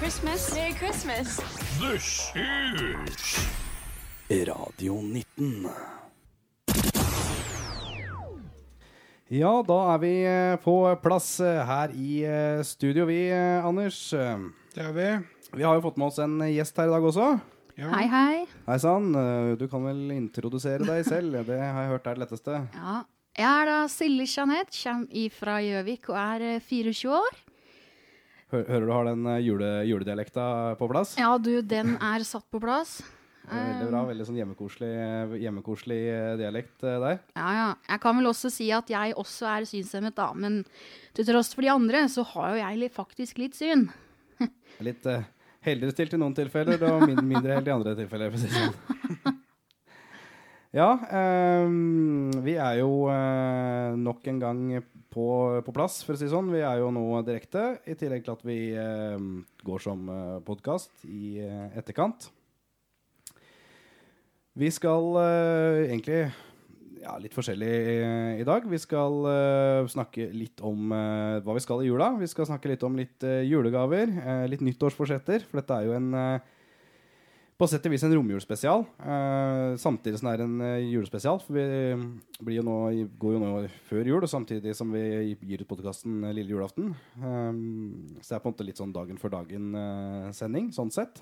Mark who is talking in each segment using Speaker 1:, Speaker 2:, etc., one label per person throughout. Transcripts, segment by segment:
Speaker 1: Christmas. Merry Christmas.
Speaker 2: Radio 19.
Speaker 3: Ja, da er vi eh, på plass eh, her i eh, studio, vi, eh, Anders. Eh,
Speaker 4: Det er vi.
Speaker 3: Vi har jo fått med oss en gjest her i dag også.
Speaker 4: Ja.
Speaker 5: Hei, hei.
Speaker 3: Hei sann, eh, du kan vel introdusere deg selv? Det har jeg hørt er det letteste.
Speaker 5: Ja. Jeg er da Silje Jeanette, kommer fra Gjøvik og er eh, 24 år.
Speaker 3: Hø- Hører du har den eh, jule, juledialekta på plass?
Speaker 5: Ja, du, den er satt på plass.
Speaker 3: Det er Veldig bra. Veldig sånn hjemmekoselig, hjemmekoselig eh, dialekt eh, der.
Speaker 5: Ja, ja. Jeg kan vel også si at jeg også er synshemmet, da. Men til tross for de andre, så har jo jeg li- faktisk litt syn.
Speaker 3: Litt eh, heldigere stilt i noen tilfeller, og min, mindre helt i andre tilfeller. For å si det sånn. Ja, ehm, vi er jo eh, nok en gang på, på plass, for å si det sånn. Vi er jo nå direkte, i tillegg til at vi ehm, går som uh, podkast i eh, etterkant. Vi skal eh, egentlig ja, litt forskjellig eh, i dag. Vi skal eh, snakke litt om eh, hva vi skal i jula. Vi skal snakke litt om litt eh, julegaver, eh, litt nyttårsforsetter, for dette er jo en eh, på sett og vis en romjulsspesial, eh, samtidig som det er en eh, julespesial. For vi eh, blir jo nå, går jo nå før jul, og samtidig som vi gir ut podkasten lille julaften. Eh, så det er på en måte litt sånn dagen for dagen-sending, sånn sett.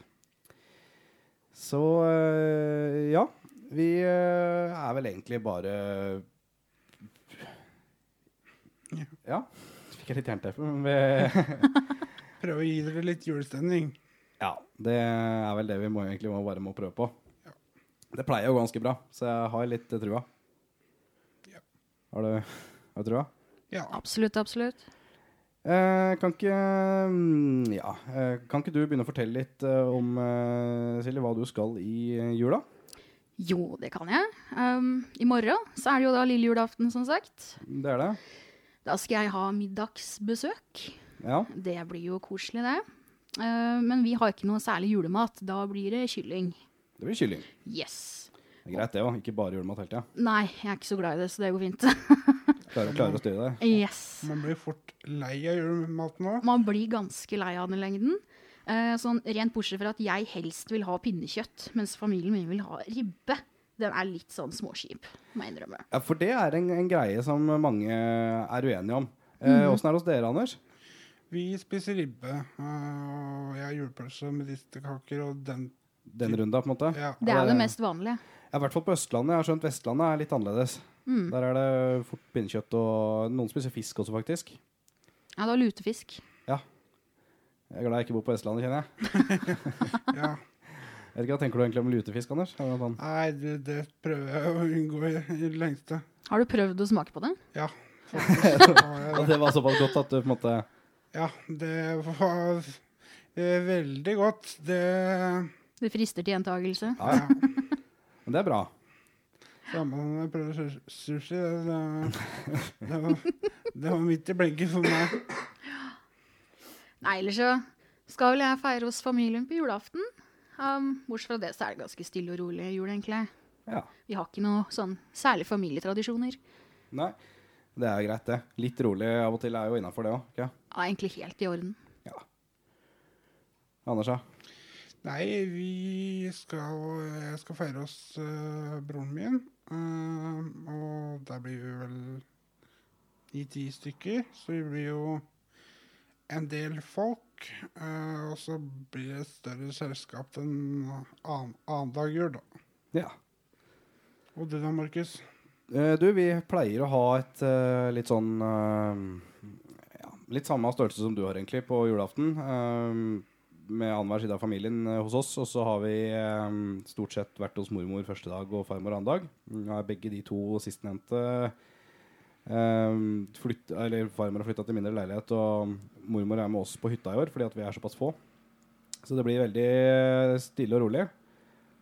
Speaker 3: Så eh, ja. Vi eh, er vel egentlig bare Ja. Så fikk jeg litt jernteppe, men vi
Speaker 4: Prøve å gi dere litt julestemning.
Speaker 3: Ja, det er vel det vi må, egentlig må, bare må prøve på. Det pleier jo ganske bra, så jeg har litt eh, trua.
Speaker 4: Ja.
Speaker 3: Har du, har du trua?
Speaker 4: Ja.
Speaker 5: Absolutt, absolutt.
Speaker 3: Eh, kan ikke mm, Ja. eh, Kan ikke du begynne å fortelle litt eh, om eh, Silje, hva du skal i eh, jula?
Speaker 5: Jo, det kan jeg. Um, I morgen så er det jo da lille julaften, som sagt.
Speaker 3: Det er det?
Speaker 5: Da skal jeg ha middagsbesøk.
Speaker 3: Ja.
Speaker 5: Det blir jo koselig, det. Eh, men vi har ikke noe særlig julemat. Da blir det kylling.
Speaker 3: Det blir kylling.
Speaker 5: Yes.
Speaker 3: Det er greit, det òg. Ikke bare julemat hele tida.
Speaker 5: Nei, jeg er ikke så glad i det, så det går fint.
Speaker 3: Klarer, klarer å styre det.
Speaker 5: yes.
Speaker 4: Man blir fort lei av julemat nå.
Speaker 5: Man blir ganske lei av den i lengden. Eh, sånn, rent bortsett fra at jeg helst vil ha pinnekjøtt, mens familien min vil ha ribbe. Den er litt sånn småskip, må jeg innrømme.
Speaker 3: Ja, for det er en, en greie som mange er uenige om. Åssen eh, åssen er det hos dere, Anders?
Speaker 4: Vi spiser ribbe, eh, og jeg har julepølse med medisterkaker og den
Speaker 3: Den runda, på en måte?
Speaker 4: Ja.
Speaker 5: Det er det mest vanlige.
Speaker 3: Ja, I hvert fall på Østlandet. Jeg har skjønt Vestlandet er litt annerledes. Der er det fort pinnekjøtt og Noen spiser fisk også, faktisk.
Speaker 5: Ja, det var lutefisk.
Speaker 3: Ja. Jeg er glad jeg ikke bor på Vestlandet, kjenner jeg.
Speaker 4: ja.
Speaker 3: jeg vet ikke, Hva tenker du egentlig om lutefisk, Anders? Er det noe sånn-
Speaker 4: Nei, du, det prøver jeg å unngå i i det lengste.
Speaker 5: Har du prøvd å smake på det?
Speaker 4: Ja. faktisk har jeg
Speaker 3: Ja,
Speaker 4: det.
Speaker 3: det var såpass godt at du på en måte
Speaker 4: Ja, det var eh, veldig godt. Det
Speaker 5: Det frister til gjentakelse.
Speaker 3: Ja, ja. Men det er bra.
Speaker 4: samme som jeg prøvde su- sushi. Det, det, det, var, det var midt i blinken for meg.
Speaker 5: Nei, ellers så skal vel jeg feire hos familien på julaften. Um, bortsett fra det så er det ganske stille og rolig jul, egentlig.
Speaker 3: Ja.
Speaker 5: Vi har ikke noe sånn særlig familietradisjoner.
Speaker 3: Nei. Det er greit, det. Litt rolig av og til er jo innafor, det òg. ikke?
Speaker 5: Ja, egentlig helt i orden.
Speaker 3: Ja. Anders, ja?
Speaker 4: Nei, vi skal Jeg skal feire hos eh, broren min. eh, og der blir vi vel ni-ti stykker. Så vi blir jo en del folk. eh, og så blir det et større selskap den annen annen dag jul, da.
Speaker 3: ja.
Speaker 4: Og du da, Markus?
Speaker 3: Eh, Du, vi pleier å ha et eh, litt sånn eh, ja, Litt samme størrelse som du har egentlig på julaften. eh, med annenhver side av familien eh, hos oss. Og så har vi eh, stort sett vært hos mormor første dag og farmor annen dag. Nå er begge de to sistnevnte eh, flytt, eller farmor har flytta til mindre leilighet, og mormor er med oss på hytta i år fordi at vi er såpass få. Så det blir veldig eh, stille og rolig.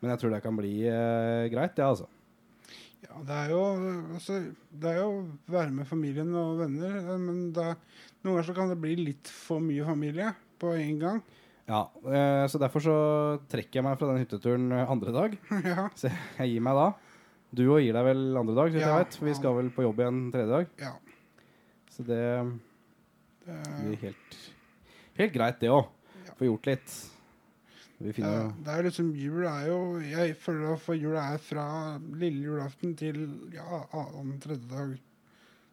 Speaker 3: Men jeg tror det kan bli eh, greit, det, ja, altså.
Speaker 4: Ja, det er jo altså, Det er jo å være med familien og venner, eh, men det, er- noen ganger så kan det bli litt for mye familie på én gang.
Speaker 3: Ja, eh, så derfor så trekker jeg meg fra den hytteturen eh, andre dag.
Speaker 4: ja.
Speaker 3: Så jeg gir meg da. Du òg gir deg vel andre dag, så vidt
Speaker 4: Ja.
Speaker 3: jeg vet. Vi skal vel på jobb igjen tredje dag.
Speaker 4: ja.
Speaker 3: Så det
Speaker 4: Det,
Speaker 3: blir helt, helt greit, det òg.
Speaker 4: Ja.
Speaker 3: Få gjort litt. Vi finner
Speaker 4: Ja, det er jo liksom jul er jo Jeg føler at for jula er fra lille julaften til ja, annen tredje dag.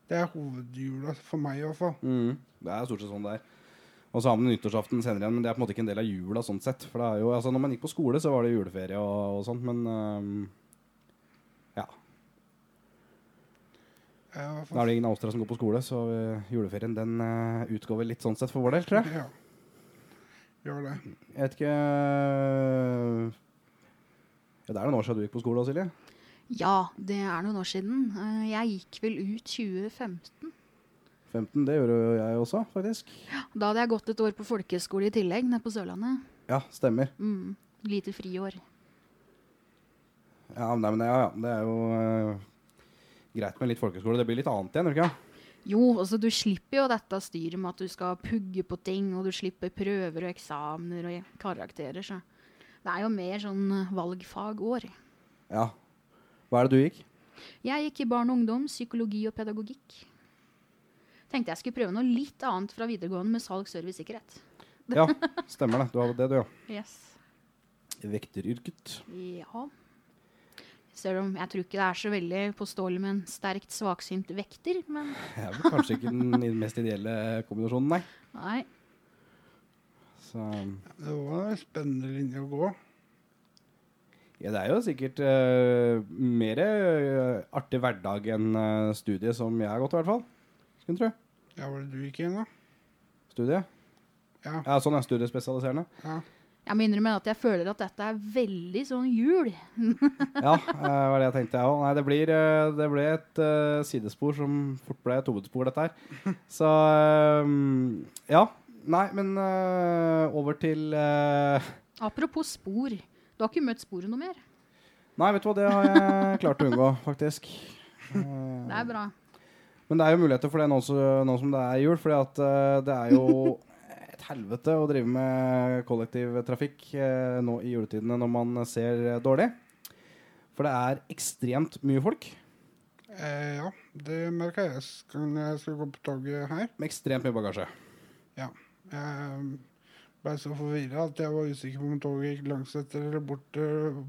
Speaker 4: Det er hovedjula for meg i hvert fall.
Speaker 3: Mm. Det er stort sett sånn det er. Og så har man nyttårsaften senere igjen, men det er på en måte ikke en del av jula sånn sett. For det er jo, altså når man gikk på skole, så var det juleferie og, og sånt, men eh, øhm, ja.
Speaker 4: Jeg er i hvert
Speaker 3: Da
Speaker 4: fall-
Speaker 3: er det ingen av oss tre som går på skole, så øh, juleferien den øh, utgår vel litt sånn sett for vår del, tror jeg.
Speaker 4: Ja. Gjør det.
Speaker 3: Jeg vet ikke øh, ja, Det er noen år siden du gikk på skole, da, Silje.
Speaker 5: Ja, det er noen år siden. Eh, Jeg gikk vel ut 2015.
Speaker 3: 15, det gjorde jo jeg også, faktisk.
Speaker 5: Da hadde jeg gått et år på folkehøyskole i tillegg, nede på Sørlandet.
Speaker 3: Ja, stemmer.
Speaker 5: Mm. Lite friår.
Speaker 3: Ja, nei, men det, ja, ja, det er jo øh, greit med litt folkeskole. Det blir litt annet igjen, gjør det ikke?
Speaker 5: Jo, altså du slipper jo dette styret med at du skal pugge på ting, og du slipper prøver og eksamener og karakterer, så det er jo mer sånn eh, valgfagår.
Speaker 3: Ja. Hva er det du gikk?
Speaker 5: Jeg gikk i barn og ungdom, psykologi og pedagogikk. Tenkte jeg skulle prøve noe litt annet fra videregående med salg, service, sikkerhet.
Speaker 3: Ja, stemmer det. Du hadde det, du, ja.
Speaker 5: Yes.
Speaker 3: Vekteryrket.
Speaker 5: Ja. Selv om jeg tror ikke det er så veldig påståelig med en sterkt svaksynt vekter, men
Speaker 3: Det er vel kanskje ikke den mest ideelle kombinasjonen, nei.
Speaker 5: nei.
Speaker 3: Så
Speaker 4: Det var en spennende linje å gå.
Speaker 3: ja, det er jo sikkert uh, mer eh, artig hverdag enn eh, studie, som jeg har gått, i hvert fall. Skulle tro.
Speaker 4: Ja, var det du gikk inn, da?
Speaker 3: Studie.
Speaker 4: Ja.
Speaker 3: Ja, sånn er studiespesialiserende.
Speaker 4: ja.
Speaker 5: Jeg må innrømme at jeg føler at dette er veldig sånn jul.
Speaker 3: Ja, det var det jeg tenkte, jeg òg. Nei, det, blir, eh, det ble et eh, sidespor som fort ble et hovedspor, dette her. Så eh, ja. Nei, men eh, over til eh,
Speaker 5: Apropos spor. Du har ikke møtt sporet noe mer.
Speaker 3: Nei, vet du hva, det har jeg klart å unngå, faktisk. Eh,
Speaker 5: Det er bra.
Speaker 3: Men det er jo muligheter for det nå, så- nå som det er jul, fordi at eh, det er jo et helvete å drive med kollektivtrafikk eh, nå i juletidene når man ser eh, dårlig. For det er ekstremt mye folk.
Speaker 4: Eh, ja, det merka jeg sk- når jeg skulle gå på toget her.
Speaker 3: Med ekstremt mye bagasje.
Speaker 4: Ja. Jeg ble så forvirra at jeg var usikker på om toget gikk langsetter eller bort,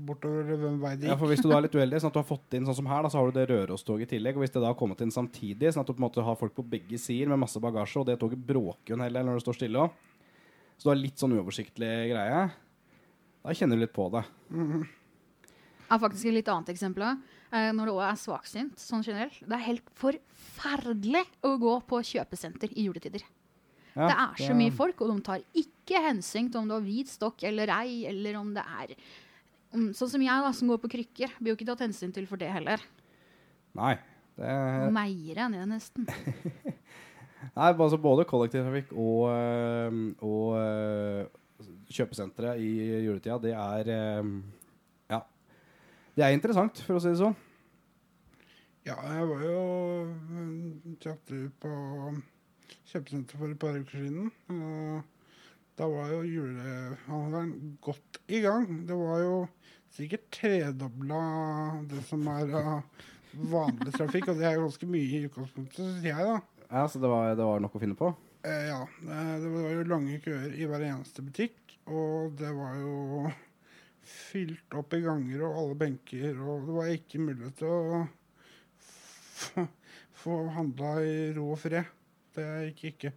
Speaker 4: bortover, eller hvem vei det
Speaker 3: Ja,
Speaker 4: gikk.
Speaker 3: for Hvis du da er litt uheldig, sånn at du har fått inn sånn som her, da, så har du det Røros-toget i tillegg. Og Hvis det da har kommet inn samtidig, sånn at du på en måte har folk på begge sider med masse bagasje, og det toget bråker jo en hel del når det står stille også. Så du har litt sånn uoversiktlig greie. Da kjenner du litt på det.
Speaker 5: Jeg har faktisk et litt annet eksempel òg. Eh, når det òg er svaksynt sånn generelt. Det er helt forferdelig å gå på kjøpesenter i juletider.
Speaker 3: Ja,
Speaker 5: det er så mye folk, og de tar ikke hensyn til om du har hvit stokk eller ei, eller om det er om, Sånn som jeg, da, som går på krykker, blir jo ikke tatt hensyn til for det heller.
Speaker 3: Nei. Det er,
Speaker 5: Meier jeg ned nesten.
Speaker 3: nei, altså både kollektivtrafikk og, øh, og øh, kjøpesentre i juletida, det er øh, Ja. Det er interessant, for å si det sånn.
Speaker 4: Ja, jeg var jo mm, kjapt ut på kjøpesenteret for et par uker siden. Og da var jo julehandelen godt i gang. Det var jo sikkert tredobla det som er av vanlig trafikk, og det er ganske mye i utgangspunktet, syns jeg, da.
Speaker 3: Ja, så det var, det var nok å finne på.
Speaker 4: Eh, ja. eh, Det var jo lange køer i hver eneste butikk, og det var jo fylt opp i ganger og alle benker, og det var ikke mulig til å få, få handla i ro og fred. Det gikk ikke.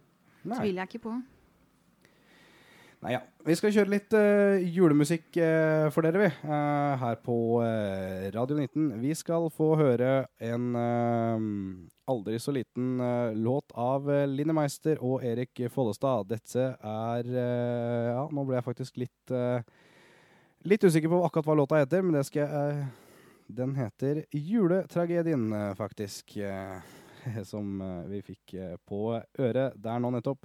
Speaker 3: Nei.
Speaker 5: Tviler jeg ikke på.
Speaker 3: Nei, ja. Vi skal kjøre litt eh, julemusikk eh, for dere, vi. eh, her på eh, Radio 19. Vi skal få høre en eh, aldri så liten eh, låt av uh, Linni Meister og Erik Follestad. Dette er eh, Ja, nå ble jeg faktisk litt eh, Litt usikker på akkurat hva låta heter, men det skal jeg eh, Den heter 'Juletragedien', eh, faktisk. eh, som eh, vi fikk eh, på øret der nå nettopp.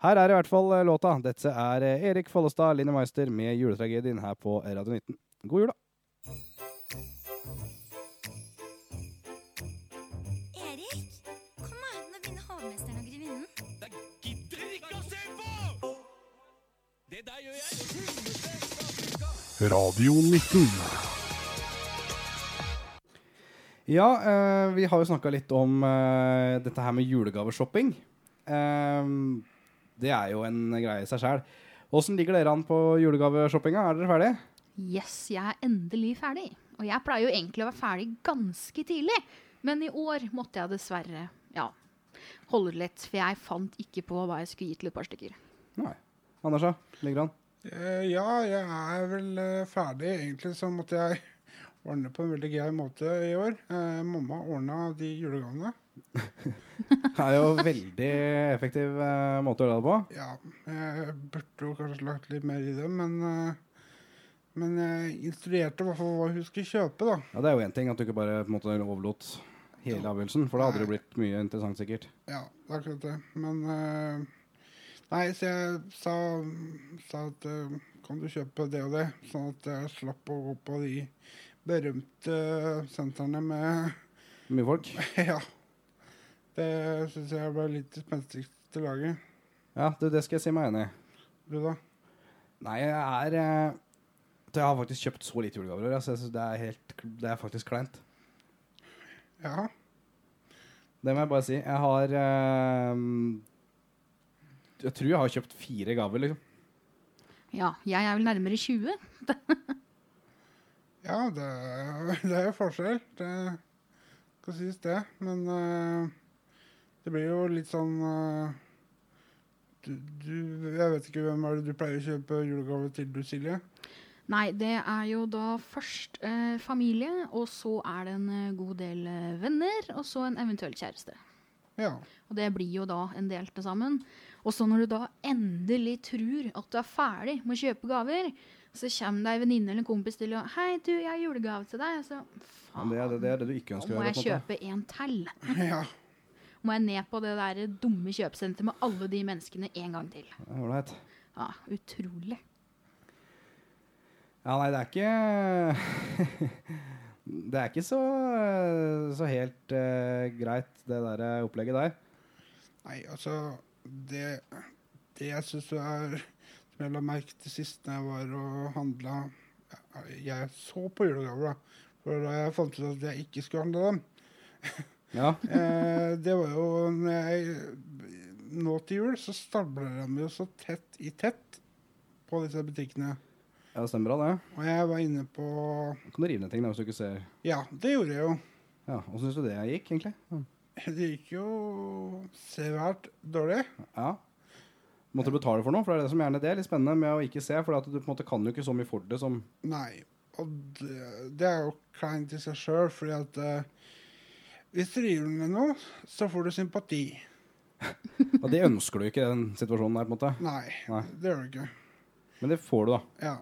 Speaker 3: Her er i hvert fall eh, låta. Dette er eh, Erik Follestad, Linni Meister med juletragedien her på Radio 19. God jul, da.
Speaker 1: Erik, kom her, nå begynner hovmesteren og grevinnen.
Speaker 6: Gidder ikke å se på! Det der gjør jeg.
Speaker 4: Radio 19.
Speaker 3: Ja, eh, vi har jo snakka litt om eh, dette her med julegaveshopping. Eh, det er jo en greie i seg sjæl. Åssen ligger dere an på julegaveshoppinga? Er dere ferdige?
Speaker 5: Yes, jeg er endelig ferdig. Og jeg pleier jo egentlig å være ferdig ganske tidlig, men i år måtte jeg dessverre ja, holde det litt, for jeg fant ikke på hva jeg skulle gi til et par stykker.
Speaker 3: Nei. Anders, da? Ligger det an?
Speaker 4: Eh, Ja, jeg er vel eh, ferdig. Egentlig så måtte jeg ordne på en veldig grei måte i år. Eh, mamma ordna de julegavene.
Speaker 3: Det er jo veldig effektiv eh, måte å gjøre det på.
Speaker 4: Ja, jeg burde jo kanskje lagt litt mer i det, men eh, Men jeg instruerte i hvert fall hva hun skulle kjøpe, da.
Speaker 3: Ja, Det er jo én ting at du ikke bare på en måte overlot hele avgjørelsen, for da hadde det jo blitt mye interessant, sikkert.
Speaker 4: Ja, det er akkurat det. Men eh, Nei, så jeg sa, sa at eh, kan du kjøpe det og det, sånn at jeg slapp å gå på de berømte eh, sentrene med
Speaker 3: Mye folk.
Speaker 4: Ja. Det syns jeg ble litt spenstigst til laget.
Speaker 3: Ja, du, det skal jeg si meg enig i.
Speaker 4: Du, da?
Speaker 3: Nei, jeg er eh, Jeg har faktisk kjøpt så lite julegaver i år. Altså, jeg synes det, er helt, det er faktisk kleint.
Speaker 4: Ja.
Speaker 3: Det må jeg bare si. Jeg har eh, Jeg tror jeg har kjøpt fire gaver, liksom.
Speaker 5: Ja, jeg er vel nærmere 20.
Speaker 4: Ja, det, er- det er jo forskjell. Det skal sies, det. Men eh, det blir jo litt sånn eh, du, du, Jeg vet ikke hvem er det du pleier å kjøpe julegave til, du, Silje?
Speaker 5: Nei, det er jo da først eh, familie, og så er det en eh, god del eh, venner, og så en eventuell kjæreste.
Speaker 4: Ja.
Speaker 5: Og det blir jo da en del til sammen. Og så når du da endelig tror at du er ferdig med å kjøpe gaver, så kommer det ei venninne eller en kompis til og 'Hei, du, jeg har julegave til deg.'
Speaker 3: Ja,
Speaker 5: Så faen,
Speaker 3: Det er det, det er det du ikke
Speaker 5: Ah. nå
Speaker 3: ønsker å gjøre.
Speaker 5: må jeg
Speaker 3: på en måte.
Speaker 5: kjøpe en til.
Speaker 4: ja.
Speaker 5: Må jeg ned på det der dumme kjøpesenteret med alle de menneskene en gang til.
Speaker 3: Ja, Ålreit.
Speaker 5: Ja, utrolig.
Speaker 3: Ja, nei, det er ikke Det er ikke så, så helt eh, greit, det der eh, opplegget der.
Speaker 4: Nei, altså Det, det jeg syns er Som jeg la merke til sist når jeg var og handla jeg, jeg så på julegaver, da. For da jeg fant ut at jeg ikke skulle handle dem.
Speaker 3: Ja,
Speaker 4: Eh, det var jo når jeg, Nå til jul så stabler de jo så tett i tett på disse butikkene.
Speaker 3: ja, det stemmer bra, det.
Speaker 4: Og jeg var inne på
Speaker 3: Da Kan du rive ned ting da, hvis du ikke ser
Speaker 4: Ja, det gjorde jeg jo.
Speaker 3: Ja, Åssen syns du det gikk, egentlig?
Speaker 4: Det gikk jo svært dårlig.
Speaker 3: Ja. Måtte du betale for noe? For det er det som gjerne det er litt spennende med å ikke se. For at du på en måte kan jo ikke så mye for det som
Speaker 4: Nei, og det, det er jo kleint i seg sjøl, fordi at eh, hvis du driver med noe, så får du sympati.
Speaker 3: Og det ønsker du ikke, den situasjonen der, på en måte.
Speaker 4: Nei,
Speaker 3: Nei.
Speaker 4: det gjør du ikke.
Speaker 3: Men det får du, da.
Speaker 4: Ja.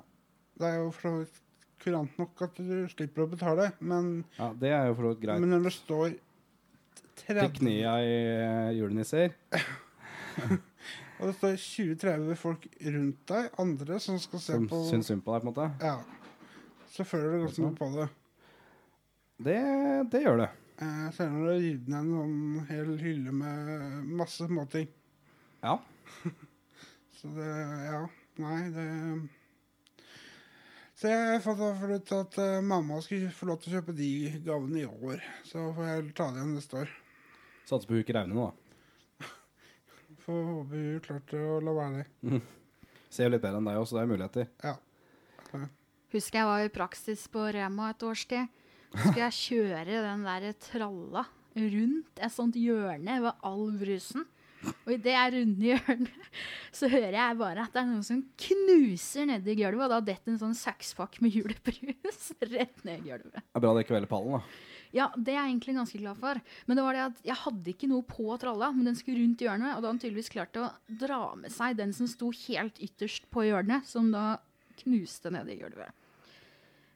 Speaker 4: Det er jo for så vidt kurant nok at du slipper å betale, men,
Speaker 3: Ja, Det er jo for så vidt greit.
Speaker 4: men når det står 30,
Speaker 3: Fikk knia i eh, julenisser.
Speaker 4: og det står 20-30 folk rundt deg, andre som skal se
Speaker 3: Som
Speaker 4: på
Speaker 3: syns Sånn. synd på deg, på en måte.
Speaker 4: Ja. Så føler du ganske mye på det.
Speaker 3: Det, det gjør det.
Speaker 4: Eh, selv om du har revet ned en sånn hel hylle med masse småting.
Speaker 3: Ja.
Speaker 4: Så det Ja. Nei, det Så jeg fant i hvert fall ut at eh, mamma skulle få lov til å kjøpe de gavene i år. Så får jeg ta det igjen neste år.
Speaker 3: Satser på hun ikke revner nå, da.
Speaker 4: Får håpe hun klarte å la være det.
Speaker 3: Ser jo litt bedre enn deg også, så det er muligheter.
Speaker 4: Ja.
Speaker 5: Husker jeg var i praksis på Rema et års tid. Skulle jeg kjøre den der tralla rundt et sånt hjørne ved all brusen. Og idet jeg runder hjørnet, så hører jeg bare at det er noen som knuser nedi gulvet, og da detter en sånn sekspakk med julebrus rett ned i gulvet.
Speaker 3: Det er bra det ikke velger pallen, da.
Speaker 5: Ja, det er jeg egentlig ganske glad for. Men det var det at jeg hadde ikke noe på tralla, men den skulle rundt hjørnet, og da hadde han tydeligvis klart å dra med seg den som sto helt ytterst på hjørnet, som da knuste nede i gulvet.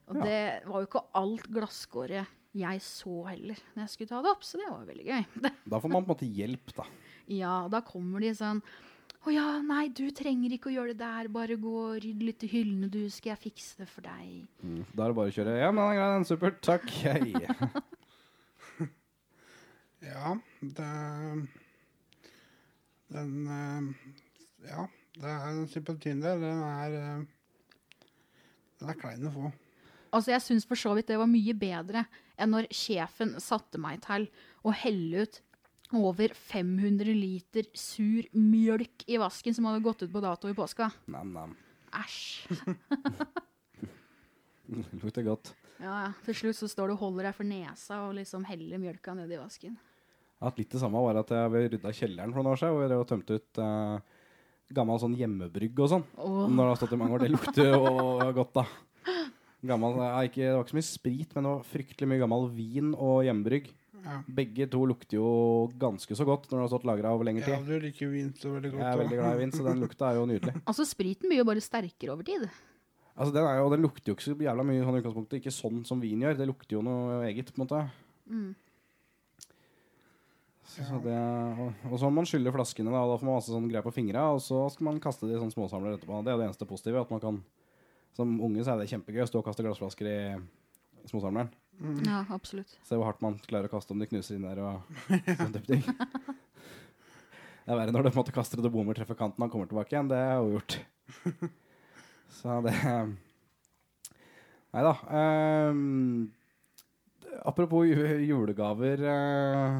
Speaker 5: Og
Speaker 3: Ja.
Speaker 5: det var jo ikke alt glasskåret jeg så heller når jeg skulle ta det opp, så det var veldig gøy.
Speaker 3: Da får man på en måte hjelp, da.
Speaker 5: Ja, da kommer de sånn Å ja, nei, du trenger ikke å gjøre det der, bare gå og rydd litt i hyllene, du, skal jeg fikse det for deg.
Speaker 3: Da er det bare å kjøre. Ja, men den er grei, den. Supert. Takk. Hei.
Speaker 4: ja det Den eh, Ja. Det er den sympatien der. Den er eh, Den er klein å få.
Speaker 5: Altså, jeg syns for så vidt det var mye bedre enn når sjefen satte meg til å helle ut over 500 liter sur mjølk i vasken som hadde gått ut på dato i påska.
Speaker 3: Nam-nam.
Speaker 5: Æsj.
Speaker 3: Lukter godt.
Speaker 5: Ja, ja. Til slutt så står du og holder deg for nesa og liksom heller mjølka ned i vasken.
Speaker 3: Jeg har hatt litt det samme var at jeg rydda kjelleren for noen år siden, og jeg drev og tømte ut eh, gammel sånn hjemmebrygg og sånn.
Speaker 5: Åh.
Speaker 3: Når det har stått i mange år. Det lukter jo godt, da. Gammel, ja, ikke, det var ikke så mye sprit, men det var fryktelig mye gammel vin og hjemmebrygg.
Speaker 4: Ja.
Speaker 3: Begge to lukter jo ganske så godt når det har stått lagra over lengre
Speaker 4: ja,
Speaker 3: tid.
Speaker 4: du liker vin så veldig godt.
Speaker 3: Jeg er
Speaker 4: da.
Speaker 3: veldig glad i vin, så den lukta er jo nydelig.
Speaker 5: Altså, spriten blir jo bare sterkere over tid.
Speaker 3: Altså, den, er jo, den lukter jo ikke så jævla mye sånn i utgangspunktet. Ikke sånn som vin gjør. Det lukter jo noe eget, på en måte. Så, så det, og, og så må man skylle flaskene, da, og da får man masse sånn greier på fingra, og så skal man kaste det i sånn småsamler etterpå. Det er jo det eneste positive. at man kan, Som unge så er det kjempegøy å stå og kaste glassflasker i småsamleren.
Speaker 5: Ja, absolutt.
Speaker 3: Se hvor hardt man klarer å kaste om de knuser inn der og sånn type ting. Det er verre når du på en måte kaster det og bommer, treffer kanten og kommer tilbake igjen. Det er jo gjort. Så det Nei da. ehm, apropos ju- julegaver. eh,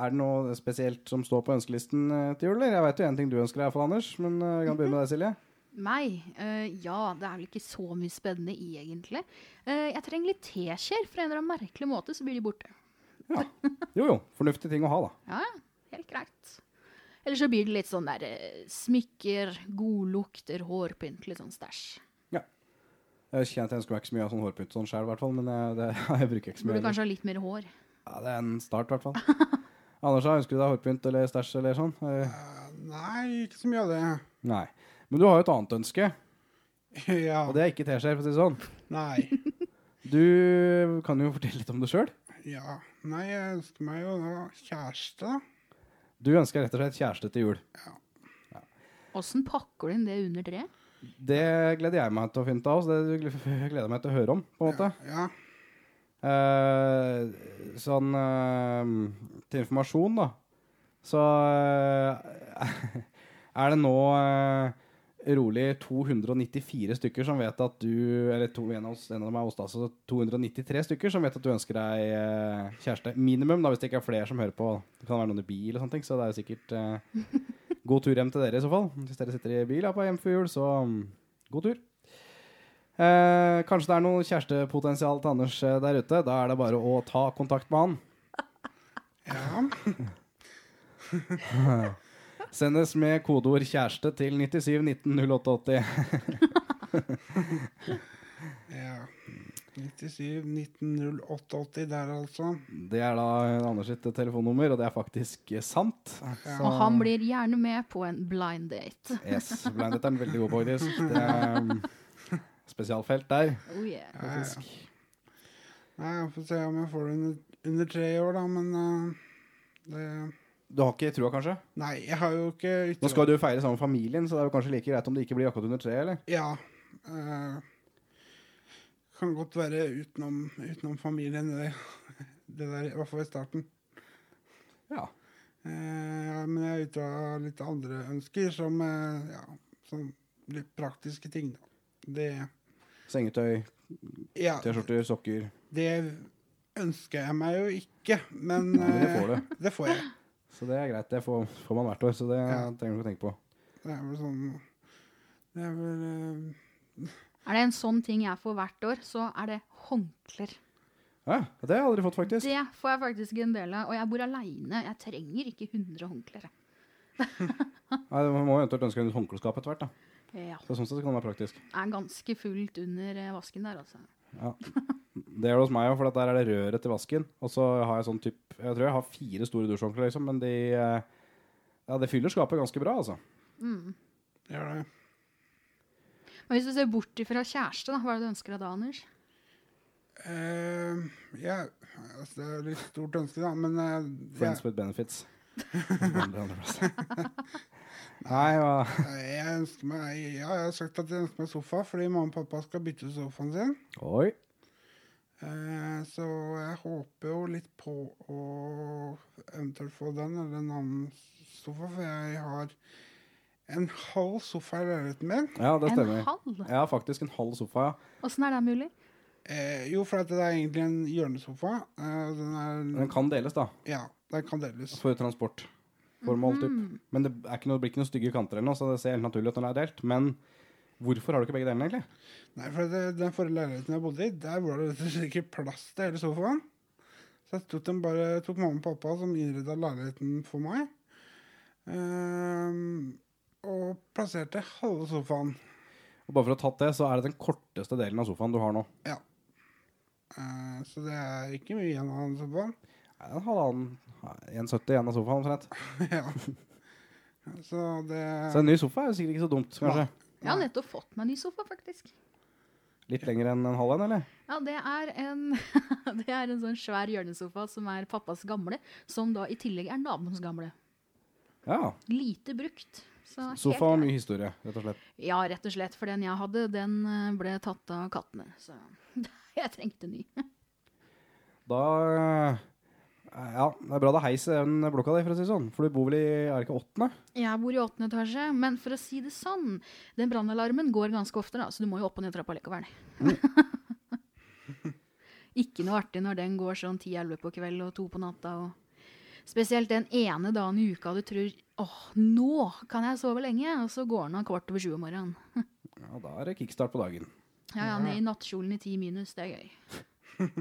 Speaker 3: er det noe spesielt som står på ønskelisten eh, til jul? eller? Jeg vet jo en ting du ønsker deg, iallfall, Anders. Men eh, vi kan begynne med deg, Silje.
Speaker 5: Meg? Eh, ja, det er vel ikke så mye spennende i, egentlig. Eh, jeg trenger litt teskjeer. For en eller annen merkelig måte så blir de borte.
Speaker 3: Ja. Jo jo. Fornuftige ting å ha, da.
Speaker 5: Ja, ja. Helt greit. Eller så blir det litt sånn der eh, smykker, godlukter, hårpynt, litt sånn stæsj.
Speaker 3: Jeg kjenner at jeg ønsker meg ikke så mye av sånn hårpynt sånn sjøl, i hvert fall. Men jeg, det, jeg bruker ikke så mye.
Speaker 5: Burde
Speaker 3: heller.
Speaker 5: kanskje ha litt mer hår.
Speaker 3: Ja, det er en start, i hvert fall. Anders, da, ønsker du deg hårpynt eller stæsj eller sånn? Eh,
Speaker 4: Nei, ikke så mye av det.
Speaker 3: Nei. Men du har jo et annet ønske,
Speaker 4: ja.
Speaker 3: og det er ikke teskjeer, for å si det sånn.
Speaker 4: Nei.
Speaker 3: Du kan jo fortelle litt om det sjøl.
Speaker 4: Ja. Nei, jeg ønsker meg jo da kjæreste.
Speaker 3: Du ønsker rett og slett kjæreste til jul.
Speaker 5: Åssen pakker du inn det under treet?
Speaker 3: Det gleder jeg meg til å finne ut av, så det gleder jeg meg til å høre om, på en måte.
Speaker 4: Ja.
Speaker 3: Eh, sånn eh, til informasjon, da, så eh, er det nå eh, rolig 294 stykker som vet at du Eller to, en av oss, en av dem er oss, da, så 293 stykker som vet at du ønsker deg eh, kjæreste. Minimum, da, hvis det ikke er flere som hører på. Det kan være noen i bil og sånne ting, så det er jo sikkert eh, god tur hjem til dere i så fall. Hvis dere sitter i bil da, på hjem før jul, så mm, god tur. Eh, kanskje det er noe kjærestepotensial til Anders eh, der ute. Da er det bare å ta kontakt med han.
Speaker 4: ja.
Speaker 3: Sendes med kodeord 'kjæreste' til 97190880.
Speaker 4: Ja. 97 190880 der, altså.
Speaker 3: Det er da eh, Anders sitt telefonnummer, og det er faktisk eh, sant.
Speaker 4: Ja.
Speaker 5: Og han blir gjerne med på en blind date.
Speaker 3: Yes, Blindet er en veldig god, faktisk. Det er mm, spesialfelt der.
Speaker 5: Oh yeah.
Speaker 3: faktisk.
Speaker 4: Nei, jeg får se om jeg får det under, under tre år, da, men eh, det
Speaker 3: Du har ikke trua, kanskje?
Speaker 4: Nei, jeg har jo ikke
Speaker 3: Nå skal du jo feire sammen med familien, så det er jo kanskje like greit om det ikke blir akkurat under tre, eller?
Speaker 4: Ja. eh, kan godt være utenom, utenom familien, det, det der, i hvert fall i starten.
Speaker 3: Ja.
Speaker 4: Eh, men jeg er ute av litt andre ønsker, som eh, ja, sånn litt praktiske ting, da. Det,
Speaker 3: Sengetøy,
Speaker 4: ja,
Speaker 3: T-skjorter, sokker.
Speaker 4: det ønsker jeg meg jo ikke, men
Speaker 3: Men det får
Speaker 4: eh,
Speaker 3: du.
Speaker 4: det får jeg.
Speaker 3: Så det er greit. Det får, får man hvert år, så det
Speaker 4: Ja.
Speaker 3: trenger du ikke å tenke på.
Speaker 4: Det er vel sånn Det er vel eh,
Speaker 5: Er det en sånn ting jeg får hvert år, så er det håndklær.
Speaker 3: Ja, det har jeg aldri fått, faktisk.
Speaker 5: Det får jeg faktisk en del av. Og jeg bor aleine. Jeg trenger ikke 100 håndklær. jeg.
Speaker 3: Nei, Man må jo eventuelt ønske et håndkleskap etter hvert. da.
Speaker 5: Ja.
Speaker 3: Så Sånn sett kan det være praktisk.
Speaker 5: Er ganske fullt under eh, vasken der, altså.
Speaker 3: Ja. Det er det hos meg òg, for at der er det røret til vasken. Og så har jeg sånn typ, Jeg tror jeg har fire store dusjhåndklær, liksom, men de eh, Ja, det fyller skapet ganske bra, altså.
Speaker 4: Gjør det.
Speaker 5: Men hvis du ser bort ifra kjæreste, da, hva er det du ønsker deg da, Anders?
Speaker 4: Eh, ja, altså, det er litt stort ønske, da, men eh, jeg-
Speaker 3: Friends with benefits. Nei, hva
Speaker 4: Nei, Jeg ønsker meg Ja, jeg har sagt at jeg ønsker meg sofa, fordi mamma og pappa skal bytte sofaen sin.
Speaker 3: Oi.
Speaker 4: Eh, så jeg håper jo litt på å eventuelt få den eller en annen sofa, for jeg har en halv sofa i leiligheten min.
Speaker 3: Ja, det
Speaker 5: En
Speaker 3: stemmer.
Speaker 5: halv?
Speaker 3: Jeg har faktisk en halv sofa, ja.
Speaker 5: Åssen er det mulig?
Speaker 4: Eh, jo, for at det er egentlig en hjørnesofa. Eh, den er
Speaker 3: Den kan deles, da.
Speaker 4: Ja, den kan deles.
Speaker 3: For transportformål, typ. Men det, er ikke noe, det blir ikke noen stygge kanter, eller noe, så det ser helt naturlig ut når den er delt. Men hvorfor har du ikke begge delene, egentlig?
Speaker 4: Nei, for det, den forrige leiligheten jeg bodde i, der var det rett og slett ikke plass til hele sofaen. Så jeg tok, den bare, tok mamma og pappa, som innreda leiligheten for meg, ehm, og plasserte halve sofaen.
Speaker 3: Og bare for å ha tatt det, så er det den korteste delen av sofaen du har nå.
Speaker 4: Ja. Eh, så det er ikke mye igjen av den sofaen.
Speaker 3: Nei, Den halvannen 1,70 igjen av sofaen, omtrent.
Speaker 4: ja. Så det
Speaker 3: Så en ny sofa er jo sikkert ikke så dumt, kanskje.
Speaker 5: Jeg har nettopp fått meg ny sofa, faktisk.
Speaker 3: Litt lenger enn en halv en, eller?
Speaker 5: Ja, det er, en, det er en sånn svær hjørnesofa som er pappas gamle, som da i tillegg er naboens gamle.
Speaker 3: Ja.
Speaker 5: Lite brukt. Så helt
Speaker 3: Sofa og
Speaker 5: greit.
Speaker 3: mye historie, rett og slett.
Speaker 5: Ja, rett og slett. For den jeg hadde, den eh, ble tatt av kattene. Så jeg trengte ny.
Speaker 3: Da eh, Ja, det er bra det er heis i den blokka di, for å si det sånn. For du bor vel i Er det ikke åttende?
Speaker 5: Jeg bor i åttende etasje, men for å si det sånn, den brannalarmen går ganske ofte, da, så du må jo opp og ned trappa likevel. Ikke noe artig når den går sånn ti-elleve på kveld og to på natta. og Spesielt den ene dagen i uka du tror åh, nå kan jeg sove lenge, og så går den av kvart over sju om morgenen.
Speaker 3: Ja, da er det kickstart på dagen.
Speaker 5: Ja, ja, ned i nattkjolen i ti minus, det er gøy.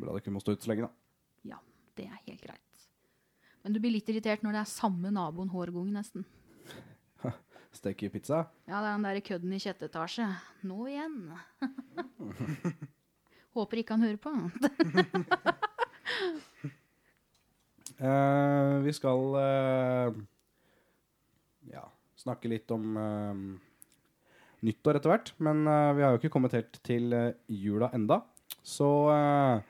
Speaker 3: Bra du ikke må stå ute så lenge, da.
Speaker 5: Ja, det er helt greit. Men du blir litt irritert når det er samme naboen hver gang, nesten.
Speaker 3: Steke pizza.
Speaker 5: Ja, det er den der kødden i sjette etasje. Nå igjen. Håper ikke han hører på.
Speaker 3: Eh, vi skal eh, ja, snakke litt om eh, nyttår etter hvert. Men eh, vi har jo ikke kommet helt til eh, jula enda. Så eh,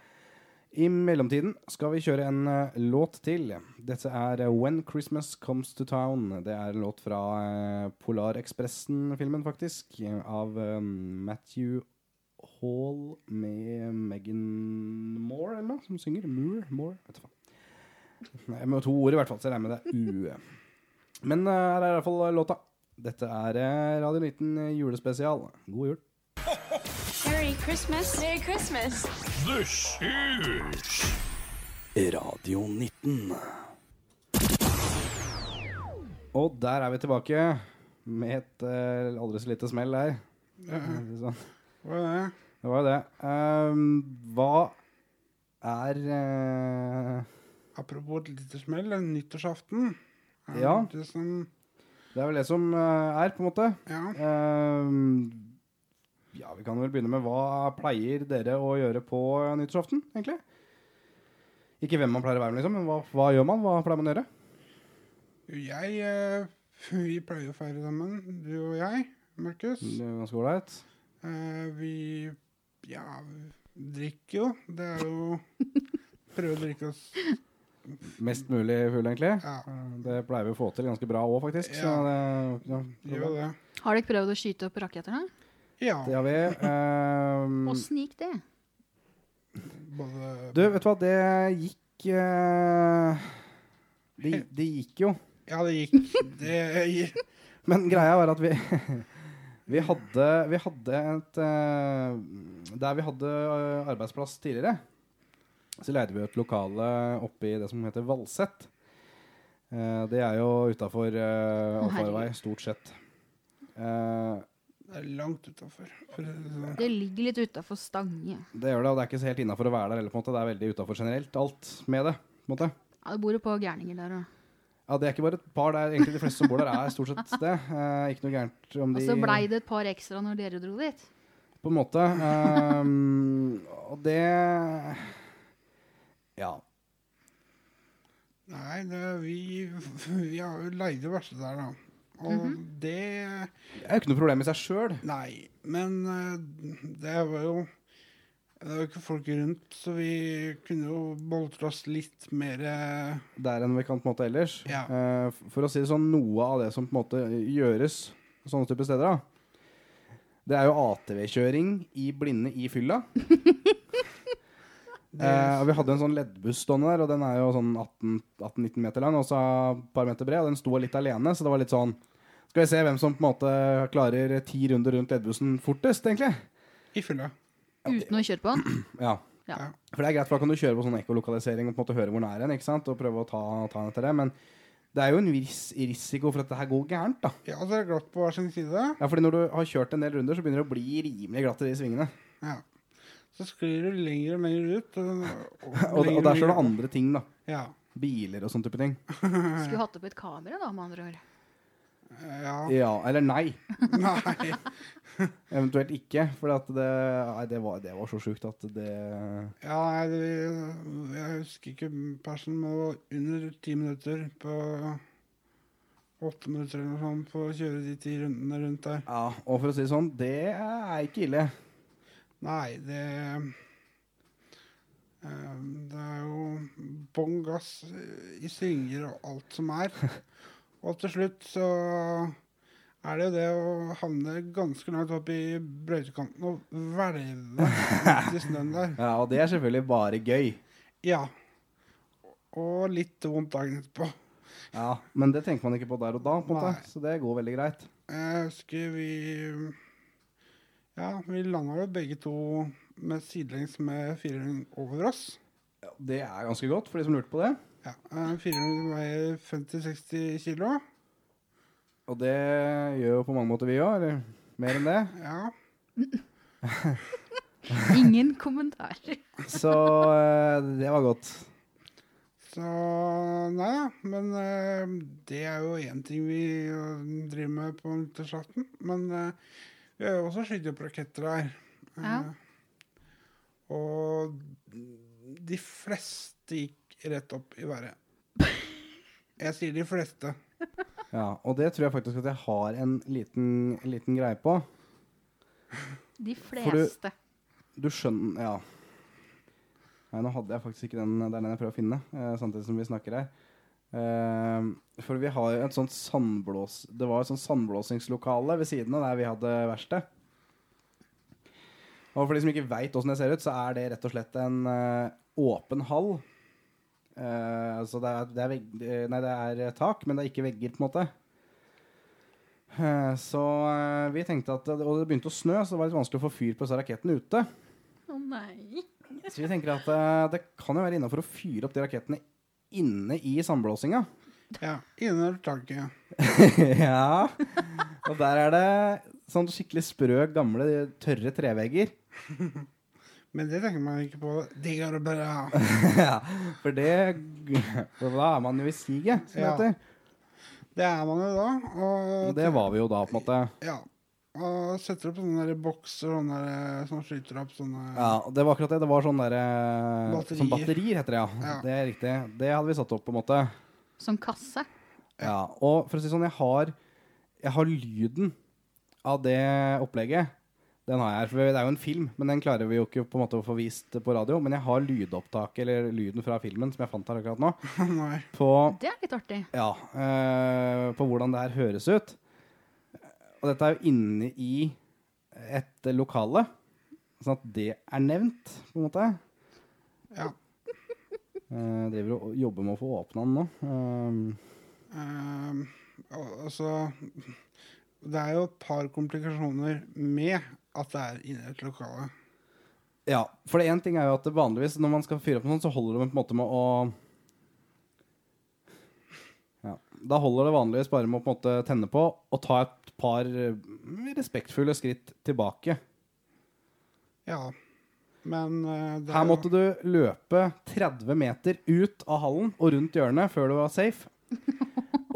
Speaker 3: i mellomtiden skal vi kjøre en eh, låt til. Dette er eh, When Christmas Comes to Town. Det er en låt fra eh, Polarekspressen-filmen, faktisk. Av eh, Matthew Hall med Megan Moore, eller noe, som synger. Moore? Moore? Vet du faen. Nei, med to ord i hvert fall, så jeg regner med det er U. Men eh, her er i hvert fall låta. Dette er eh, Radio 19 julespesial. God jul.
Speaker 7: Merry Christmas. Merry Christmas.
Speaker 2: Radio 19.
Speaker 3: Og der er vi tilbake med et eh, aldri så lite smell der. Sånn.
Speaker 4: Hva er det?
Speaker 3: Det var jo det. Ehm, hva er eh,
Speaker 4: Apropos et lite smell, en nyttårsaften. Eh,
Speaker 3: Ja.
Speaker 4: Det som
Speaker 3: Det er vel det som eh, er, på en måte.
Speaker 4: Ja.
Speaker 3: Ehm, ja, vi kan vel begynne med hva pleier dere å gjøre på nyttårsaften, egentlig? Ikke hvem man pleier å være med, liksom, men hva, hva gjør man? Hva pleier man å gjøre?
Speaker 4: Jeg eh, Vi pleier å feire sammen, du og jeg, Markus.
Speaker 3: Det er ganske ålreit.
Speaker 4: Eh, vi ja, vi drikker jo. Det er jo Prøve å drikke oss
Speaker 3: Mest mulig full, egentlig.
Speaker 4: Ja,
Speaker 3: Det pleier vi å få til ganske bra òg, faktisk. Så det, ja,
Speaker 4: gjør jo det.
Speaker 5: Har dere prøvd å skyte opp raketter? da?
Speaker 4: Ja.
Speaker 3: det har vi. Ehm,
Speaker 5: Åssen gikk det?
Speaker 4: Både
Speaker 3: du, vet du hva, det gikk eh, det, det gikk jo.
Speaker 4: Ja, det gikk. Det gikk.
Speaker 3: Men greia var at vi Vi hadde, vi hadde et eh, Der vi hadde eh, arbeidsplass tidligere, så leide vi et lokale oppe i det som heter Valset. Eh, det er jo utafor uh, allfarvei, stort sett. Eh,
Speaker 4: Det er langt utafor. sånn.
Speaker 5: Det ligger litt utafor Stange.
Speaker 3: det gjør det, og det er ikke så helt innafor å være der heller, på en måte. Det er veldig utafor generelt, alt med det. på en måte.
Speaker 5: Ja, det bor jo på gærninger der òg.
Speaker 3: Ja, Det er ikke bare et par der. Egentlig de fleste som bor der, er stort sett det. Eh, ikke noe gærent om
Speaker 5: Og
Speaker 3: de
Speaker 5: så blei det et par ekstra når dere dro dit.
Speaker 3: på en måte. Ehm, og det Ja.
Speaker 4: Nei, det, vi, vi har jo leide verste der, da. Og det
Speaker 3: Det er jo ikke noe problem i seg sjøl.
Speaker 4: Nei, men eh, det var jo Det var jo ikke folk rundt, så vi kunne jo boltre oss litt mer eh,
Speaker 3: Der enn vi kan på en måte ellers.
Speaker 4: Ja.
Speaker 3: Eh, f- for å si det sånn, noe av det som på en måte gjøres sånne type steder, da, det er jo ATV-kjøring i blinde i fylla. Eh, og vi hadde en sånn leddbuss stående der, og den er jo sånn 18 18-19 meter lang og så et par meter bred, og den sto litt alene, så det var litt sånn Skal vi se hvem som på en måte klarer ti runder rundt leddbussen fortest, egentlig.
Speaker 4: I fylla.
Speaker 5: uten å kjøre på den.
Speaker 3: Ja.
Speaker 5: Ja.
Speaker 3: For det er greit, for da kan du kjøre på sånn ekkolokalisering og på en måte høre hvor den er hen, ikke sant? og prøve å ta, ta den etter det. Men det er jo en viss risiko for at det her går gærent, da.
Speaker 4: Ja, dere er glatt på hver sin side.
Speaker 3: Ja, fordi når du har kjørt en del runder, så begynner det å bli rimelig glatt i de svingene.
Speaker 4: Ja. Så sklir du lenger og lenger ut. Og,
Speaker 3: Og, og der ser du andre ting, da.
Speaker 4: Ja.
Speaker 3: Biler og sånn type ting.
Speaker 5: Skulle hatt opp et kamera, da, med andre ord.
Speaker 4: ja.
Speaker 3: Ja, eller nei.
Speaker 4: Nei.
Speaker 3: Eventuelt ikke. For at det, nei, det, var, det var så sjukt at det
Speaker 4: Ja, nei, det- jeg husker ikke persen, men det var under ti minutter på Åtte minutter eller noe sånt på å kjøre de ti rundene rundt der.
Speaker 3: Ja, og for å si det sånn, det er ikke ille.
Speaker 4: Nei, det eh, Det er jo bånn gass i svinger og alt som er. Og til slutt så er det jo det å havne ganske langt opp i brøytekanten og hvelve ut i snøen der.
Speaker 3: Ja, Og det er selvfølgelig bare gøy.
Speaker 4: Ja. Og litt vondt dagen etterpå.
Speaker 3: Ja, Men det tenker man ikke på der og da, på en
Speaker 4: Nei.
Speaker 3: måte. så det går veldig greit.
Speaker 4: Jeg husker Eh, vi Ja, vi landa jo begge to med sidelengs med firehjuling over oss.
Speaker 3: Det er ganske godt, for de som lurte på det.
Speaker 4: Ja, eh, Firehjuling veier 50-60 kilo.
Speaker 3: Og det gjør jo på mange måter vi òg, eller mer enn det.
Speaker 4: Ja.
Speaker 5: Ingen kommentarer.
Speaker 3: Så eh, det var godt.
Speaker 4: Så nei da. Men eh, det er jo én ting vi eh, driver med på nyttårsaften. Men eh, vi har jo også skutt opp raketter her. Eh,
Speaker 5: Ja.
Speaker 4: og de fleste gikk rett opp i været. Jeg sier de fleste.
Speaker 3: Ja, Og det tror jeg faktisk at jeg har en liten, en liten greie på.
Speaker 5: De
Speaker 3: du-
Speaker 5: fleste.
Speaker 3: Du skjønner Ja. Nei, nå hadde jeg faktisk ikke den. Det er den jeg prøver å finne, eh, samtidig som vi snakker her. Eh, for vi har jo et sånt sandblås... Det var et sånt sandblåsingslokale ved siden av der vi hadde verksted. Og for de som ikke veit åssen det ser ut, så er det rett og slett en eh, åpen hall. Eh, så det er, det, er vegg, eh, nei, det er tak, men det er ikke vegger, på en måte. Eh, så eh, vi tenkte at Og det begynte å snø, så det var litt vanskelig å få fyr på disse rakettene ute.
Speaker 5: Å nei.
Speaker 3: Så vi tenker at eh, det kan jo være innafor å fyre opp de rakettene inne i sandblåsinga.
Speaker 4: Ja, Innunder taket.
Speaker 3: ja. Og der er det sånn skikkelig sprø, gamle, tørre trevegger.
Speaker 4: Men det tenker man ikke på. Det går bra.
Speaker 3: Ja, For det For da er man jo i siget, som
Speaker 4: Ja.
Speaker 3: det heter.
Speaker 4: Det er man jo da.
Speaker 3: Og
Speaker 4: Og
Speaker 3: det var vi jo da, på en måte.
Speaker 4: Ja. Og setter opp sånne der bokser sånne der, eh, som skyter opp sånne
Speaker 3: Ja, og Det var akkurat det. Det var sånn derre Batterier. Sånn
Speaker 4: Batterier.
Speaker 3: batterier, heter det, ja.
Speaker 4: Ja.
Speaker 3: Det er riktig. Det hadde vi satt opp, på en måte.
Speaker 5: Som kasse.
Speaker 3: Ja, og for å si det sånn, jeg har, jeg har lyden av det opplegget. Den har jeg her, for det er jo en film, men den klarer vi jo ikke på en måte å få vist på radio. Men jeg har lydopptaket, eller lyden fra filmen, som jeg fant her akkurat nå,
Speaker 4: Nei.
Speaker 3: på,
Speaker 5: Det er litt artig.
Speaker 3: ja, eh, på hvordan det her høres ut. Og dette er jo inne i et lokale, sånn at det er nevnt, på en måte.
Speaker 4: Ja.
Speaker 3: Eh, driver og jobber med å få åpna den nå. Eh,
Speaker 4: ehm, og- altså Det er jo et par komplikasjoner med at det er inne i et lokale.
Speaker 3: Ja, for det en ting er jo at det vanligvis når man skal fyre opp noe sånt, så holder det på en måte med å ja. Da holder det vanligvis bare med å på en måte tenne på og ta et par eh, respektfulle skritt tilbake.
Speaker 4: Ja. Men eh, det er
Speaker 3: Her
Speaker 4: jo-
Speaker 3: måtte du løpe 30 meter ut av hallen og rundt hjørnet før du var safe.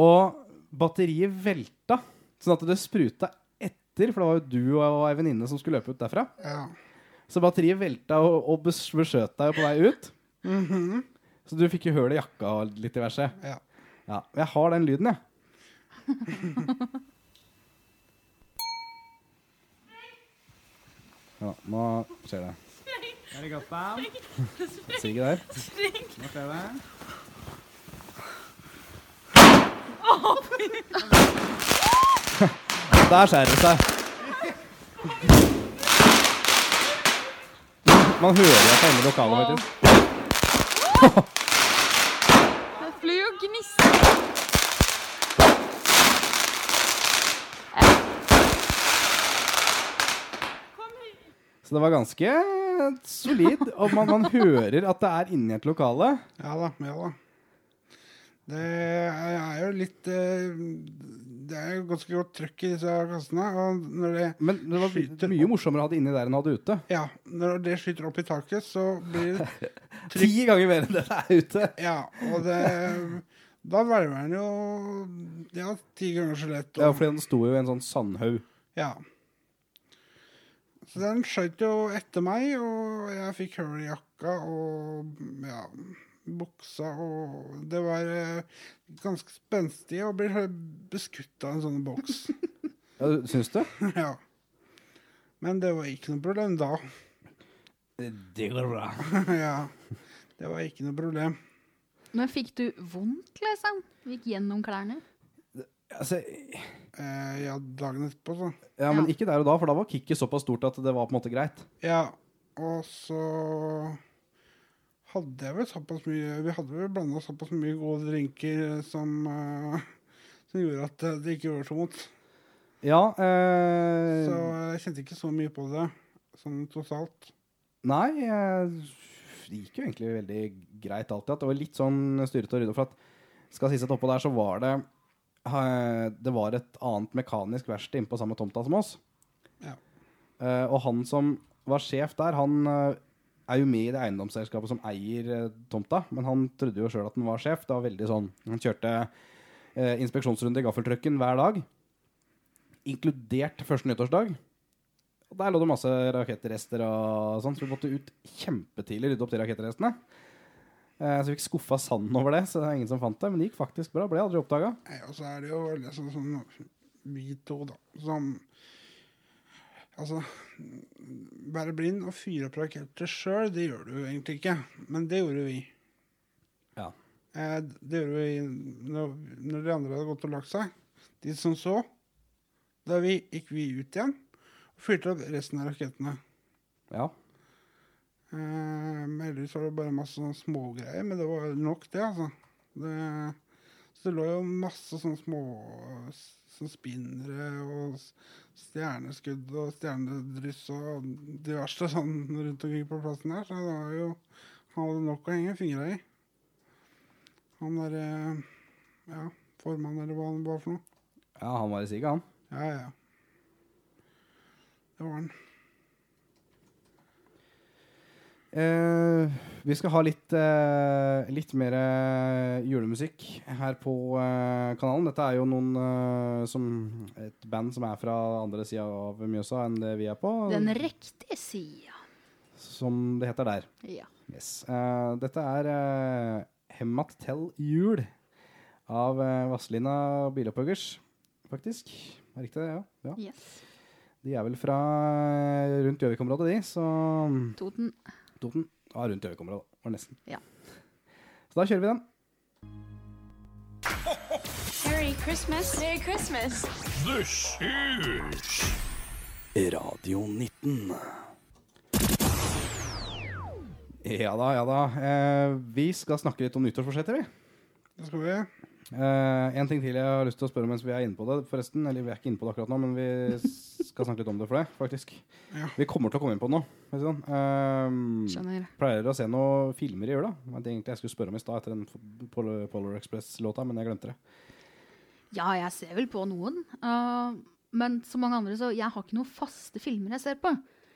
Speaker 3: Og batteriet velta, sånn at det spruta etter, for det var jo du og ei venninne som skulle løpe ut derfra.
Speaker 4: Ja.
Speaker 3: Så batteriet velta og, og bes- beskjøt deg på vei ut. Så du fikk jo høl i jakka og litt diverse.
Speaker 4: ja.
Speaker 3: Ja, jeg har den lyden, jeg. Ja, nå skjer det. Er det godt, da? Sigge der. Nå skjer det. Der skjærer det seg. Man hører at det er inne i lokalet, faktisk.
Speaker 5: Det flyr jo gnister.
Speaker 3: Så det var ganske solid. Og man, man hører at det er inni et lokale.
Speaker 4: Ja da, ja da. Det er jo litt eh, Det er jo ganske godt trøkk i disse kassene. Og når det,
Speaker 3: Men det var
Speaker 4: Skyter
Speaker 3: mye morsommere å ha det inni der enn å ha det ute.
Speaker 4: ja, når det skyter opp i taket, så blir det
Speaker 3: Ti
Speaker 4: trykk.
Speaker 3: ganger mer enn det det er ute.
Speaker 4: Ja, og det Da velger den jo ja, ti ganger så lett.
Speaker 3: Ja,
Speaker 4: Og,
Speaker 3: fordi den sto jo i en sånn sandhaug.
Speaker 4: ja. Så den skjøt jo etter meg, og jeg fikk hull i jakka og ja, buksa og Det var eh, ganske spenstig å bli beskutt av en sånn boks.
Speaker 3: Ja, syns du?
Speaker 4: ja. Men det var ikke noe problem da.
Speaker 3: Det går bra.
Speaker 4: ja. Det var ikke noe problem.
Speaker 5: Men fikk du vondt, liksom? Du gikk gjennom klærne?
Speaker 3: Altså,
Speaker 4: Eh, ja, dagen etterpå, så.
Speaker 3: ja, men ikke der og da, for da var kicket såpass stort at det var på en måte greit.
Speaker 4: Ja, og så hadde jeg vel såpass mye Vi hadde vel blanda såpass mye gode drinker som, eh, som gjorde at det ikke gjorde så vondt.
Speaker 3: Ja,
Speaker 4: Så
Speaker 3: eh,
Speaker 4: jeg kjente ikke så mye på det sånn totalt.
Speaker 3: Nei, eh, det gikk jo egentlig veldig greit alltid. At det var litt sånn styrete og ryddig. For at skal sies at oppå der så var det eh, Det var et annet mekanisk verksted inne på samme tomta som oss.
Speaker 4: Ja.
Speaker 3: Eh, og han som var sjef der, han eh, er jo med i det eiendomsselskapet som eier eh, tomta, men han trodde jo sjøl at han var sjef. Det var veldig sånn Han kjørte eh, inspeksjonsrunde i gaffeltrucken hver dag, inkludert første nyttårsdag. Og der lå det masse rakettrester og sånn, så vi måtte ut kjempetidlig og rydde opp de rakettrestene. Eh, så vi fikk skuffa sanden over det, så det var ingen som fant det. Men det gikk faktisk bra. Ble aldri oppdaga.
Speaker 4: Nei, og så er det jo veldig sånn sånn vi to, da, som Altså, være blind og fyre opp raketter sjøl, det gjør du jo egentlig ikke. Men det gjorde vi.
Speaker 3: Ja.
Speaker 4: Eh, det gjorde vi når, når de andre hadde gått og lagt seg. De som så. Da vi, gikk vi ut igjen og fyrte opp resten av rakettene.
Speaker 3: ja.
Speaker 4: Eh, men heldigvis var det bare masse sånne smågreier, men det var nok, det, altså. Det, så det lå jo masse sånne små sånne spinnere og s- stjerneskudd og stjernedryss og diverse sånn rundt omkring på plassen her, så det var jo Han hadde nok å henge fingra i. Han derre Ja, formann, eller hva han var for noe.
Speaker 3: Ja, han var i siget, han.
Speaker 4: Ja, ja. Det var han.
Speaker 3: Eh, vi skal ha litt, eh, litt mer eh, julemusikk her på eh, kanalen. Dette er jo noen eh, som Et band som er fra andre sida av Mjøsa enn det vi er på.
Speaker 5: Den riktige sida.
Speaker 3: Som det heter der.
Speaker 5: Ja.
Speaker 3: Yes. Eh, dette er eh, Hemmat Tell Jul av eh, Vazelina Bilopphøggers, faktisk. Er Riktig det, ja. ja.
Speaker 5: Yes.
Speaker 3: De er vel fra eh, rundt Gjøvik-området, de. Så mm,
Speaker 5: Toten.
Speaker 3: Toten var rundt Gjøvik-området, var det nesten.
Speaker 5: Ja.
Speaker 3: Så da kjører vi den.
Speaker 7: Merry Christmas. Merry Christmas.
Speaker 2: Radio 19.
Speaker 3: Ja da, ja da. Eh, vi skal snakke litt om nyttårsforsetter, vi.
Speaker 4: Det skal vi.
Speaker 3: Eh, en ting til jeg har lyst til å spørre om mens vi er inne på det, forresten. Eller vi er ikke inne på det akkurat nå, men vi skal snakke litt om det for det, faktisk.
Speaker 4: Ja.
Speaker 3: Vi kommer til å komme inn på det nå. for å si det Sånn. Eh,
Speaker 5: Skjønner.
Speaker 3: Pleier å se noen filmer i jula. Det var egentlig jeg skulle spørre om i stad etter den Pol- Polar Express-låta, men jeg glemte det.
Speaker 5: Ja, jeg ser vel på noen. eh, men som mange andre, så jeg har ikke noen faste filmer jeg ser på.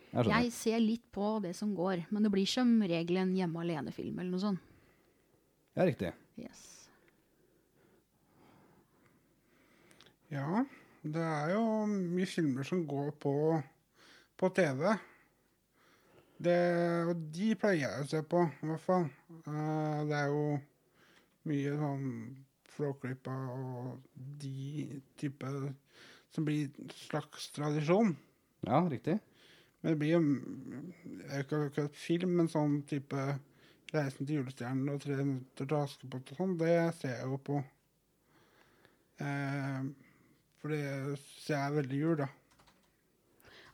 Speaker 3: Jeg skjønner.
Speaker 5: Jeg ser litt på det som går, men det blir som regel en hjemme alene-film eller noe sånt.
Speaker 3: Ja, riktig.
Speaker 5: Yes.
Speaker 4: Ja, det er jo mye filmer som går på, på TV. Det, og de pleier jeg å se på, i hvert fall. Eh, det er jo mye sånn Flåklypa og de type som blir slags tradisjon.
Speaker 3: Ja, riktig.
Speaker 4: Men det blir jo det er jo ikke akkurat film, men sånn type Reisen til julestjernen og Tre minutter til Askepott og sånn, det ser jeg jo på. Eh, for det ser jeg er veldig jul, da.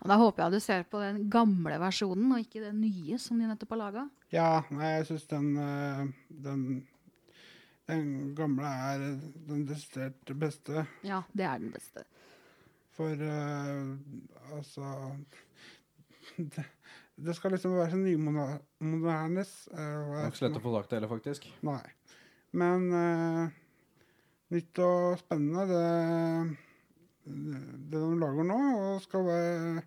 Speaker 5: Og da håper jeg du ser på den gamle versjonen, og ikke den nye som de nettopp har laga.
Speaker 4: Ja, nei, jeg syns den, eh, den Den gamle er den desidert beste.
Speaker 5: Ja, det er den beste.
Speaker 4: For eh, altså det, Det skal liksom være så eh, nymodernes.
Speaker 3: Det er ikke så lett å få tak til heller, faktisk.
Speaker 4: Nei. Men eh, nytt og spennende, det, det de lager nå, og skal være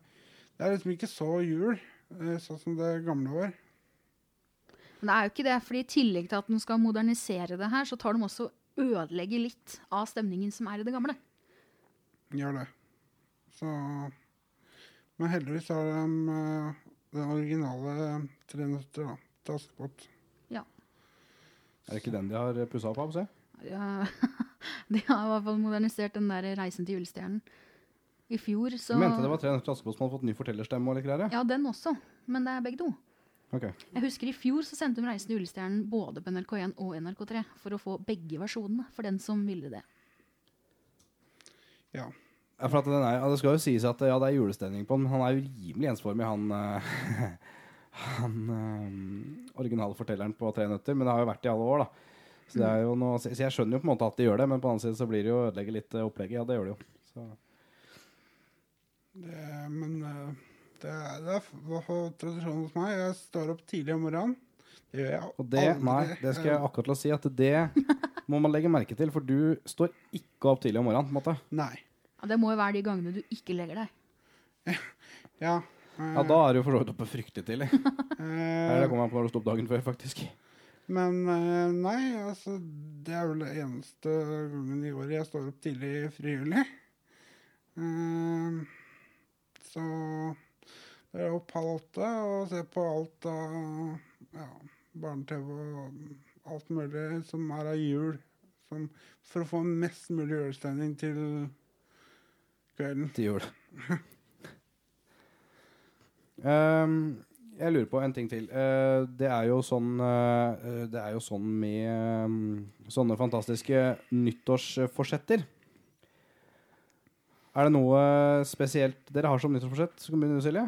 Speaker 4: Det er liksom ikke så jul, eh, sånn som det gamle var.
Speaker 5: Men det er jo ikke det, fordi i tillegg til at den skal modernisere det her, så tar de også og ødelegger litt av stemningen som er i det gamle.
Speaker 4: Gjør det. Så Men heldigvis har de eh, den originale tre nøtter, da. Til Askepott.
Speaker 3: Er det ikke den de har pussa opp av? Se?
Speaker 5: Ja, de har i hvert fall modernisert den der Reisen til julestjernen. I fjor så
Speaker 3: Du mente det var Tre nøtter til Askepott som hadde fått ny fortellerstemme og litt greier?
Speaker 5: Ja, den også. Men det er begge to.
Speaker 3: Ok.
Speaker 5: Jeg husker I fjor så sendte de Reisen til julestjernen både på NRK1 og NRK3 for å få begge versjonene for den som ville det.
Speaker 4: Ja.
Speaker 3: Ja, for at den er, ja, det skal jo sies at ja, det er julestemning på den, men han er jo rimelig ensformig, han, eh, han eh, originale fortelleren på Tre nøtter. Men det har jo vært i alle år, da. Så, det er jo noe, så så jeg skjønner jo på en måte at de gjør det, men på den annen side så blir det jo å ødelegge litt eh, opplegget. Ja, det gjør det jo. Så.
Speaker 4: Det, men eh, det er, det er f- hva for tradisjon hos meg. Jeg står opp tidlig om morgenen. Det gjør jeg Eh,
Speaker 3: Og det, nei, det skal jeg akkurat til å si, at det må man legge merke til, for du står ikke opp tidlig om morgenen, på en måte.
Speaker 4: Nei.
Speaker 5: Ja, det må jo være de gangene du ikke legger deg.
Speaker 4: Ja. eh,
Speaker 3: Ja, da er du for så vidt oppe fryktelig tidlig.
Speaker 4: eh,
Speaker 3: Eller det kommer an på når du sto opp dagen før, faktisk.
Speaker 4: men eh, nei, altså Det er vel det eneste gangen i året jeg står opp tidlig frivillig. Eh, så det er opp halv åtte og se på alt av ja, barne-TV og alt mulig som er av jul. Som, for å få mest mulig julestemning til kvelden.
Speaker 3: til jul. Ehm, jeg lurer på en ting til. Eh, det er jo sånn eh, Det er jo sånn med ehm, sånne fantastiske nyttårsforsetter. Er det noe spesielt dere har som nyttårsforsett? Skal vi begynne, Silje?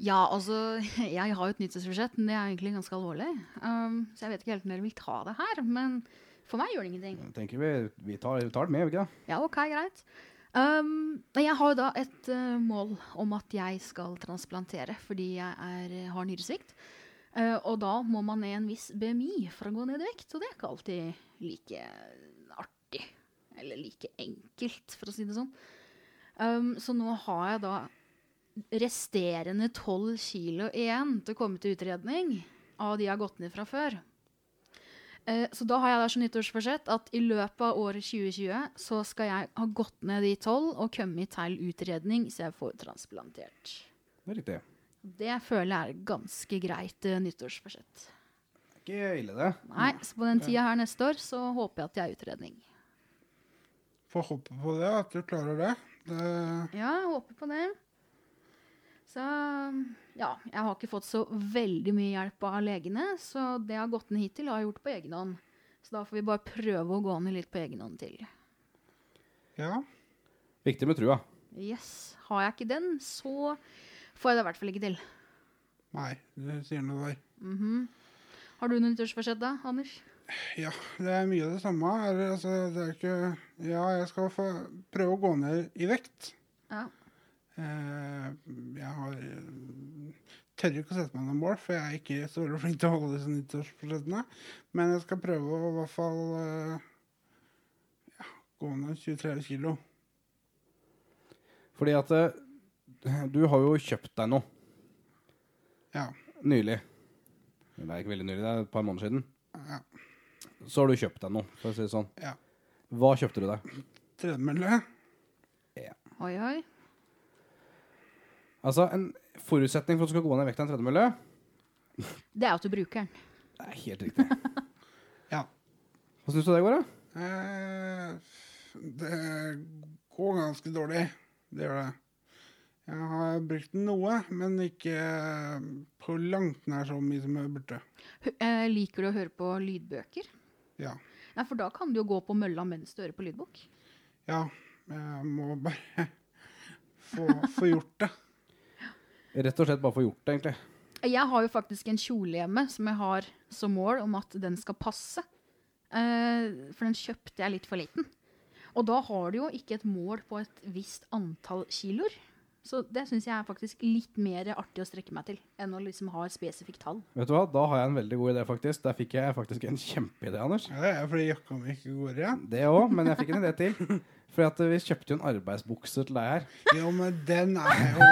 Speaker 5: Ja, altså, jeg har jo et nyttårsbudsjett, men det er egentlig ganske alvorlig. Um, så jeg vet ikke helt om dere vil ta det her, men for meg gjør det ingenting.
Speaker 3: Jeg tenker vi, vi tar, vi tar det med, gjør vi ikke det?
Speaker 5: Ja, ok, greit. Um, men jeg har jo da et eh, mål om at jeg skal transplantere fordi jeg er, har nyresvikt. Eh, og da må man ned en viss BMI for å gå ned i vekt, og det er ikke alltid like artig. Eller like enkelt, for å si det sånn. Um, så nå har jeg da resterende 12 kilo igjen til å komme til utredning av de jeg har gått ned fra før. Eh, Så da har jeg da som nyttårsforsett at i løpet av året 2020 så skal jeg ha gått ned de tolv og kommet til utredning så jeg får transplantert.
Speaker 3: Det er riktig.
Speaker 5: Det føler jeg er ganske greit eh, nyttårsforsett.
Speaker 3: Det er Ikke ille, det.
Speaker 5: Nei, så på den tida her neste år så håper jeg at jeg har utredning.
Speaker 4: Får håpe på det, at du klarer det. det
Speaker 5: Ja, jeg håper på det. Så ja, jeg har ikke fått så veldig mye hjelp av legene, så det jeg har gått ned hittil, har jeg gjort på egen hånd. Så da får vi bare prøve å gå ned litt på egen hånd til.
Speaker 4: ja.
Speaker 3: Viktig med trua.
Speaker 5: Yes. Har jeg ikke den, så får jeg det i hvert fall ikke til.
Speaker 4: Nei, du sier noe der.
Speaker 5: Har du noe nyttårsforsett da, Anders?
Speaker 4: Ja, det er mye av det samme. Eller, altså, det er ikke Ja, jeg skal få prøve å gå ned i vekt.
Speaker 5: Ja.
Speaker 4: Eh, jeg har tør ikke å sette meg noen mål, for jeg er ikke så veldig flink til å holde disse nyttårsforsettene. Men jeg skal prøve å i hvert fall eh, ja, gå ned 23 kilo.
Speaker 3: Fordi at eh, du har jo kjøpt deg noe
Speaker 4: Ja.
Speaker 3: nylig. Det er ikke veldig nylig, det er et par måneder siden.
Speaker 4: ja.
Speaker 3: Så har du kjøpt deg noe, for å si det sånn.
Speaker 4: Ja.
Speaker 3: Hva kjøpte du deg?
Speaker 4: Tredemølle.
Speaker 5: Oi, oi.
Speaker 3: Altså, en forutsetning for at du skal gå ned i vekt av en tredemølle
Speaker 5: Det er jo at du bruker den.
Speaker 3: Det er helt riktig.
Speaker 4: Ja.
Speaker 3: Hvordan syns du det går, da?
Speaker 4: Eh, f- Det går ganske dårlig. Det gjør det. Jeg har brukt den noe, men ikke på langt nær så mye som jeg burde.
Speaker 5: H- eh, Liker du å høre på lydbøker?
Speaker 4: Ja.
Speaker 5: Nei, for da kan du jo gå på mølla mens du hører på lydbok.
Speaker 4: ja jeg må bare få, få gjort det.
Speaker 3: Rett og slett bare få gjort det, egentlig.
Speaker 5: Jeg har jo faktisk en kjole hjemme som jeg har som mål om at den skal passe. Eh, for den kjøpte jeg litt for liten. Og da har du jo ikke et mål på et visst antall kiloer. Så det syns jeg er faktisk litt mer artig å strekke meg til enn å liksom ha et spesifikt tall.
Speaker 3: Vet du hva, da har jeg en veldig god idé, faktisk. Der fikk jeg faktisk en kjempeidé, Anders.
Speaker 4: Ja, det er fordi jakka mi ikke går igjen.
Speaker 3: Det òg, men jeg fikk en idé til. For at eh, vi kjøpte jo en arbeidsbukse til deg her.
Speaker 4: Jo, men den er jo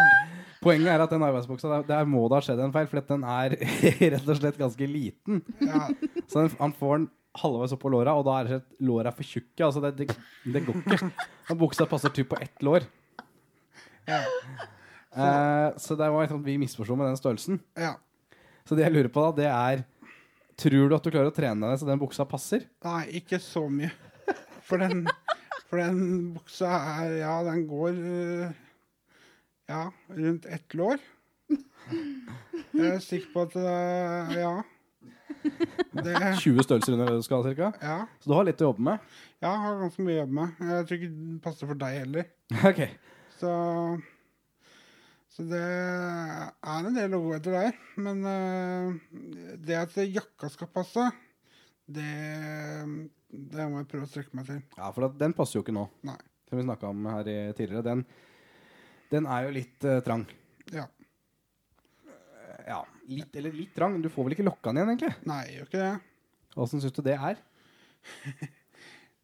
Speaker 3: Poenget er at den arbeidsbuksa, der, der må det ha skjedd en feil, for at den er rett og slett ganske liten.
Speaker 4: ja,
Speaker 3: Så den, han får den halvveis opp på låra, og da er det rett og slett låra for tjukke. Altså, det, det, det går ikke. Den buksa passer typ på ett lår.
Speaker 4: ja,
Speaker 3: Eh, så det var liksom, vi misforsto med den størrelsen.
Speaker 4: ja.
Speaker 3: Så det jeg lurer på da, det er Tror du at du klarer å trene deg så den buksa passer?
Speaker 4: Nei, ikke så mye. For den, for den buksa er Ja, den går øh, Ja, rundt ett lår. Jeg er sikker på at øh, Ja. Det,
Speaker 3: 20 størrelser under det du skal ha, cirka.
Speaker 4: ja.
Speaker 3: Så du har litt å jobbe med.
Speaker 4: Jeg har ganske mye å jobbe med. Jeg tror ikke den passer for deg heller.
Speaker 3: Ok.
Speaker 4: Så, så det er en del å gå etter der. Men øh, det at jakka skal passe, det, det må jeg prøve å strekke meg til.
Speaker 3: Ja, for at den passer jo ikke nå.
Speaker 4: Nei.
Speaker 3: Som vi snakka om her i, tidligere. Den, den er jo litt eh, trang.
Speaker 4: Ja.
Speaker 3: Ja, litt eller litt trang. Du får vel ikke lokka den igjen, egentlig?
Speaker 4: Nei, jeg gjør ikke det.
Speaker 3: Åssen syns du det er?
Speaker 4: Eh,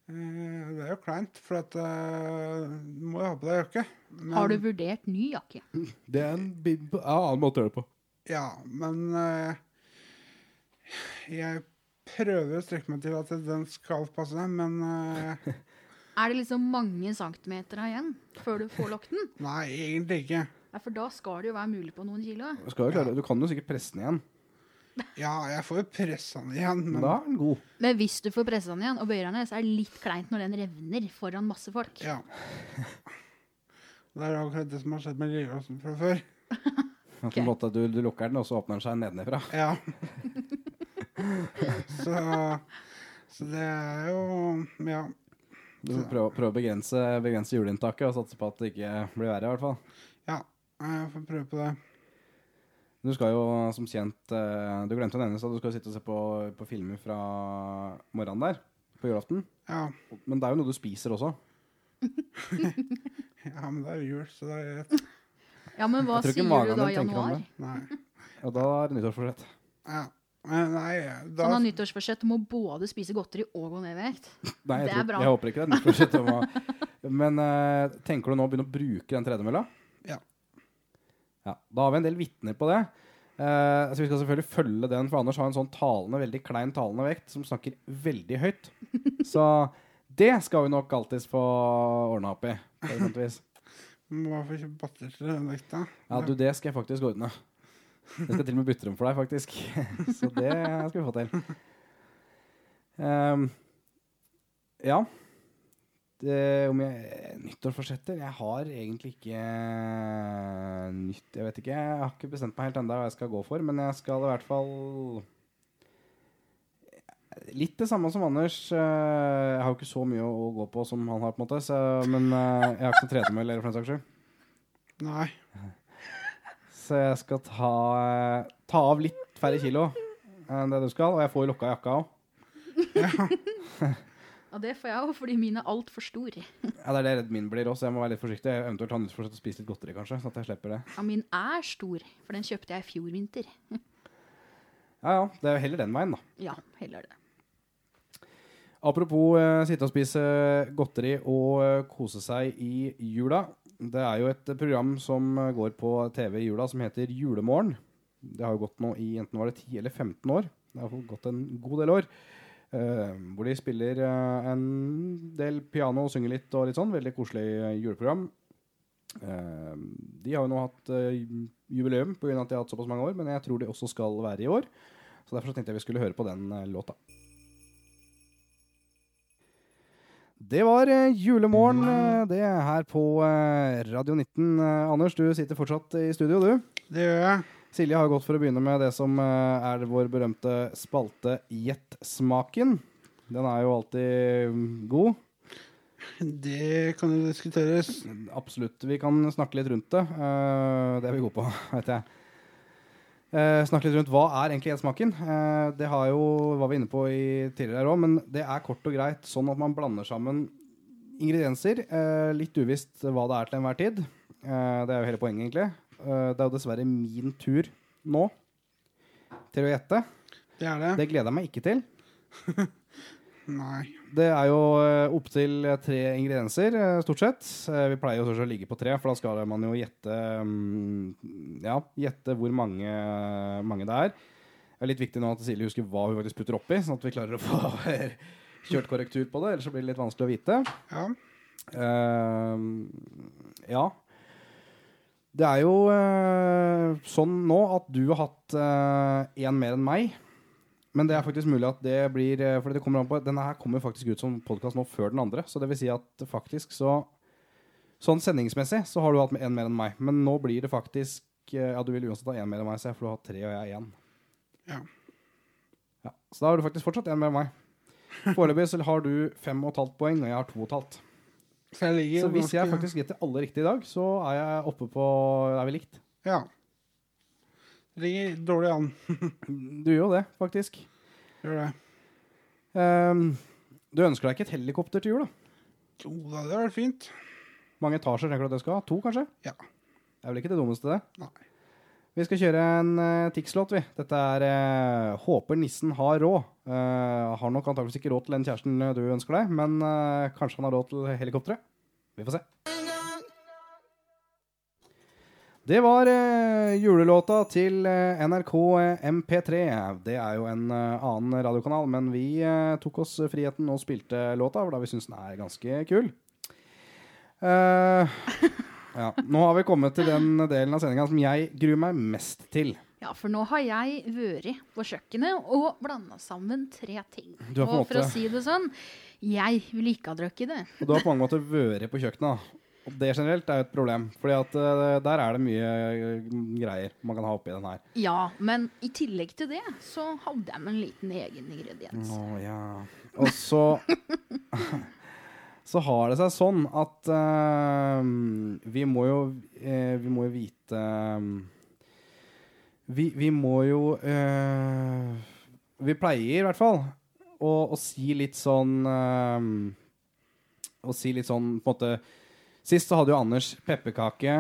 Speaker 4: Det er jo kleint, for at eh, du må jo ha på deg jakke. Men,
Speaker 5: Har du vurdert ny jakke?
Speaker 3: Det er en annen måte å gjøre det på.
Speaker 4: Ja, men eh, jeg prøver å strekke meg til at den skal passe deg, men eh,
Speaker 5: Er det liksom mange centimeter igjen før du får lokket den?
Speaker 4: nei, egentlig ikke.
Speaker 5: Ja, for da skal det jo være mulig på noen kilo.
Speaker 3: Du, skal jo klare, du kan jo sikkert presse den igjen.
Speaker 4: Ja, jeg får jo pressa den igjen,
Speaker 3: Men
Speaker 4: men
Speaker 3: da er den god.
Speaker 5: Men hvis du får pressa den igjen og bøyer den ned, så er det litt kleint når den revner foran masse folk.
Speaker 4: ja. Det er jo akkurat det som har skjedd med lillelåsen fra før.
Speaker 3: På en måte at du, du lukker den, og så åpner den seg nedenfra.
Speaker 4: Ja. så, så det er jo Ja.
Speaker 3: Du får prøve, prøve å begrense, begrense juleinntaket og satse på at det ikke blir verre. i hvert fall.
Speaker 4: ja. Jeg får prøve på det.
Speaker 3: Du skal jo som kjent eh, Du glemte å nevne så du skal sitte og se på, på filmer fra morgenen der. På julaften.
Speaker 4: Ja.
Speaker 3: Men det er jo noe du spiser også.
Speaker 4: Ja, men det er jo jul, så det er greit.
Speaker 5: Ja, men hva
Speaker 3: Jeg tror
Speaker 5: sier
Speaker 3: ikke
Speaker 5: du
Speaker 3: magen din
Speaker 5: da i
Speaker 3: tenker om
Speaker 5: januar?
Speaker 3: det.
Speaker 4: Nei.
Speaker 3: Og da er det nyttårsforsett.
Speaker 4: Ja. Men nei,
Speaker 5: Så
Speaker 4: da
Speaker 5: han har Sånn nyttårsforsett om å både spise godteri og gå ned i vekt.
Speaker 3: Nei, jeg,
Speaker 5: Det er
Speaker 3: tror,
Speaker 5: bra.
Speaker 3: jeg håper ikke det. er nyttårsforsett om å- Men eh, tenker du nå å begynne å bruke den tredemølla?
Speaker 4: Ja.
Speaker 3: ja. Da har vi en del vitner på det. Eh, så vi skal selvfølgelig følge den, for Anders har en sånn talende, veldig klein talende vekt som snakker veldig høyt. Så det skal vi nok alltids få ordna opp i. på et eller annet vis.
Speaker 4: må man få kjøpt batter til den vekta.
Speaker 3: Ja, du, det skal jeg faktisk ordne. Jeg skal til og med bytte dem for deg, faktisk. Så det skal vi få til. Ehm, ja. Det, om jeg Nyttårsforsetter? Jeg har egentlig ikke eh, nytt Jeg vet ikke. Jeg har ikke bestemt meg helt ennå hva jeg skal gå for, men jeg skal i hvert fall Litt det samme som Anders. eh, Jeg har jo ikke så mye å å gå på som han har, på en måte. Så, men eh, jeg har ikke noe tredemøll eller for den saks skyld.
Speaker 4: Nei.
Speaker 3: Så jeg skal ta, eh, ta av litt færre kilo eh, enn det du skal. Og jeg får jo lokka jakka òg.
Speaker 5: Ja, det får jeg òg, fordi min er altfor stor.
Speaker 3: Ja, det er det redd min blir òg, så jeg må være litt forsiktig. Jeg eventuelt ta nyttårsforsett og spise litt godteri, kanskje. Sånn at jeg slipper det.
Speaker 5: Ja, min er stor, for den kjøpte jeg i fjor vinter.
Speaker 3: Ja, ja. Det er jo heller den veien, da.
Speaker 5: Ja, heller det.
Speaker 3: Apropos eh, sitte og spise godteri og eh, kose seg i jula. Det er jo et program som eh, går på TV i jula som heter Julemorgen. Det har jo gått nå i enten var det 10 eller 15 år. Det har i hvert fall gått en god del år. Eh, hvor de spiller eh, en del piano og synger litt og litt sånn. Veldig koselig eh, juleprogram. Eh, de har jo nå hatt eh, jubileum pga. at de har hatt såpass mange år, men jeg tror de også skal være i år. Så derfor så tenkte jeg vi skulle høre på den eh, låta. Det var eh, julemorgen, eh, det er her på eh, Radio 19. Eh, Anders, du sitter fortsatt i studio, du.
Speaker 4: Det gjør jeg.
Speaker 3: Silje har gått for å begynne med det som eh, er vår berømte spalte Gjett smaken. Den er jo alltid mm, god.
Speaker 4: Det kan jo diskuteres.
Speaker 3: Absolutt. Vi kan snakke litt rundt det. Eh, det er vi gode på, vet jeg. Eh, snakke litt rundt hva er egentlig gjensmaken. Eh, det har jo, var vi inne på i tidligere her òg, men det er kort og greit sånn at man blander sammen ingredienser. eh, litt uvisst hva det er til enhver tid. Eh, det er jo hele poenget, egentlig. Eh, det er jo dessverre min tur nå til å gjette.
Speaker 4: Det er det.
Speaker 3: Det gleder jeg meg ikke til.
Speaker 4: Nei.
Speaker 3: Det er jo eh, opptil tre ingredienser, eh, stort sett. Eh, Vi pleier jo stort sett å ligge på tre, for da skal man jo gjette mm, Ja, gjette hvor mange, mange det er. Det er litt viktig nå at Silje husker hva hun faktisk putter oppi, sånn at vi klarer å få kjørt korrektur på det. Ellers så blir det litt vanskelig å vite.
Speaker 4: Ja.
Speaker 3: Eh, ja. Det er jo eh, sånn nå at du har hatt én mer enn meg. Men det er faktisk mulig at det blir eh, Fordi det kommer an på Denne her kommer faktisk ut som podkast nå før den andre. Så det vil si at faktisk så Sånn sendingsmessig så har du hatt én mer enn meg. Men nå blir det faktisk eh, Ja, du vil uansett ha én mer enn meg, så jeg får ha tre, og jeg er én.
Speaker 4: Ja.
Speaker 3: Ja, så da har du faktisk fortsatt én mer enn meg. Foreløpig så har du fem og et halvt poeng, og jeg har to og et halvt.
Speaker 4: Så jeg ligger
Speaker 3: Så hvis jeg
Speaker 4: ganske-
Speaker 3: faktisk gjetter alle riktig i dag, så er jeg oppe på Er vi likt?
Speaker 4: Ja. Ligger dårlig an.
Speaker 3: Du gjør jo det, faktisk.
Speaker 4: Gjør det.
Speaker 3: Ehm, du ønsker deg ikke et helikopter til jul, da?
Speaker 4: Jo da, det hadde vært fint.
Speaker 3: Mange etasjer tenker du at det skal ha? To, kanskje?
Speaker 4: Ja.
Speaker 3: Det er vel ikke det dummeste, det?
Speaker 4: Nei.
Speaker 3: Vi skal kjøre en uh, Tix-låt, vi. Dette er eh, 'Håper nissen har råd'. Eh, har nok antakeligvis ikke råd til den kjæresten eh, du ønsker deg, men eh, kanskje han har råd til helikopteret. Vi får se. Det var eh, julelåta til eh, NRK eh, MP3. Det er jo en eh, annen radiokanal, men vi eh, tok oss friheten og spilte låta, for da vi syns den er ganske kul. Eh, ja. Nå har vi kommet til den delen av sendinga som jeg gruer meg mest til.
Speaker 5: Ja, for nå har jeg vært på kjøkkenet og blanda sammen tre ting.
Speaker 3: Du har på en
Speaker 5: og for å
Speaker 3: måte-
Speaker 5: si det sånn, jeg ville ikke ha drukket det.
Speaker 3: Og du har på mange måter vært på kjøkkenet. da. Og det generelt er jo et problem, Fordi at eh, der er det mye eh, greier man kan ha oppi den her.
Speaker 5: Ja, men i tillegg til det så hadde jeg med en liten egen ingrediens.
Speaker 3: Å ja. Og så Så har det seg sånn at eh, vi må jo eh, Vi må jo vite eh, vi, vi må jo eh, Vi pleier i hvert fall å, å si litt sånn eh, Å si litt sånn på en måte Sist så hadde jo Anders pepperkake,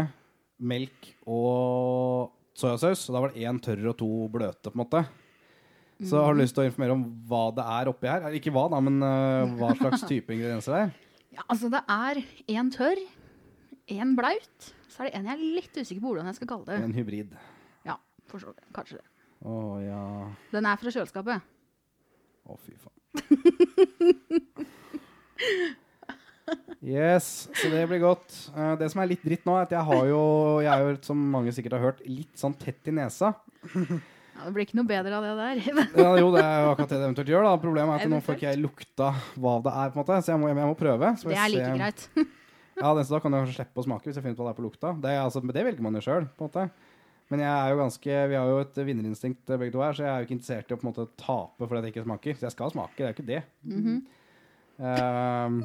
Speaker 3: melk og soyasaus. Og da var det én tørr og to bløte, på en måte. Så
Speaker 5: Mm.
Speaker 3: har du lyst til å informere om hva det er oppi her? Eller Ikke hva, da, men eh, hva slags type ingredienser det er?
Speaker 5: Ja, altså det er en tørr, en blaut, så er det en jeg er litt usikker på hvordan jeg skal kalle det.
Speaker 3: En hybrid.
Speaker 5: Ja, for så vidt. Kanskje det.
Speaker 3: Å ja.
Speaker 5: Den er fra kjøleskapet.
Speaker 3: Å, fy faen. Yes, så det blir godt. Eh, det som er litt dritt nå, er at jeg har jo, jeg er jo, som mange sikkert har hørt, litt sånn tett i nesa.
Speaker 5: Ja, det blir ikke noe bedre av det der.
Speaker 3: Ja, jo, det er jo akkurat det det eventuelt gjør. da Problemet er at nå får ikke jeg lukta hva det er, på en måte så jeg må, jeg må prøve. Så får
Speaker 5: Det
Speaker 3: jeg
Speaker 5: er like
Speaker 3: se-
Speaker 5: greit.
Speaker 3: Ja, den, så da kan jeg kanskje slippe å smake hvis jeg finner ut hva det er på lukta. Det, er, altså, men det velger man jo sjøl, på en måte. Men jeg er jo ganske, vi har jo et vinnerinstinkt eh, begge to her, så jeg er jo ikke interessert i å på en måte tape fordi jeg ikke smaker. Så jeg skal smake, det er jo ikke det. Ehm,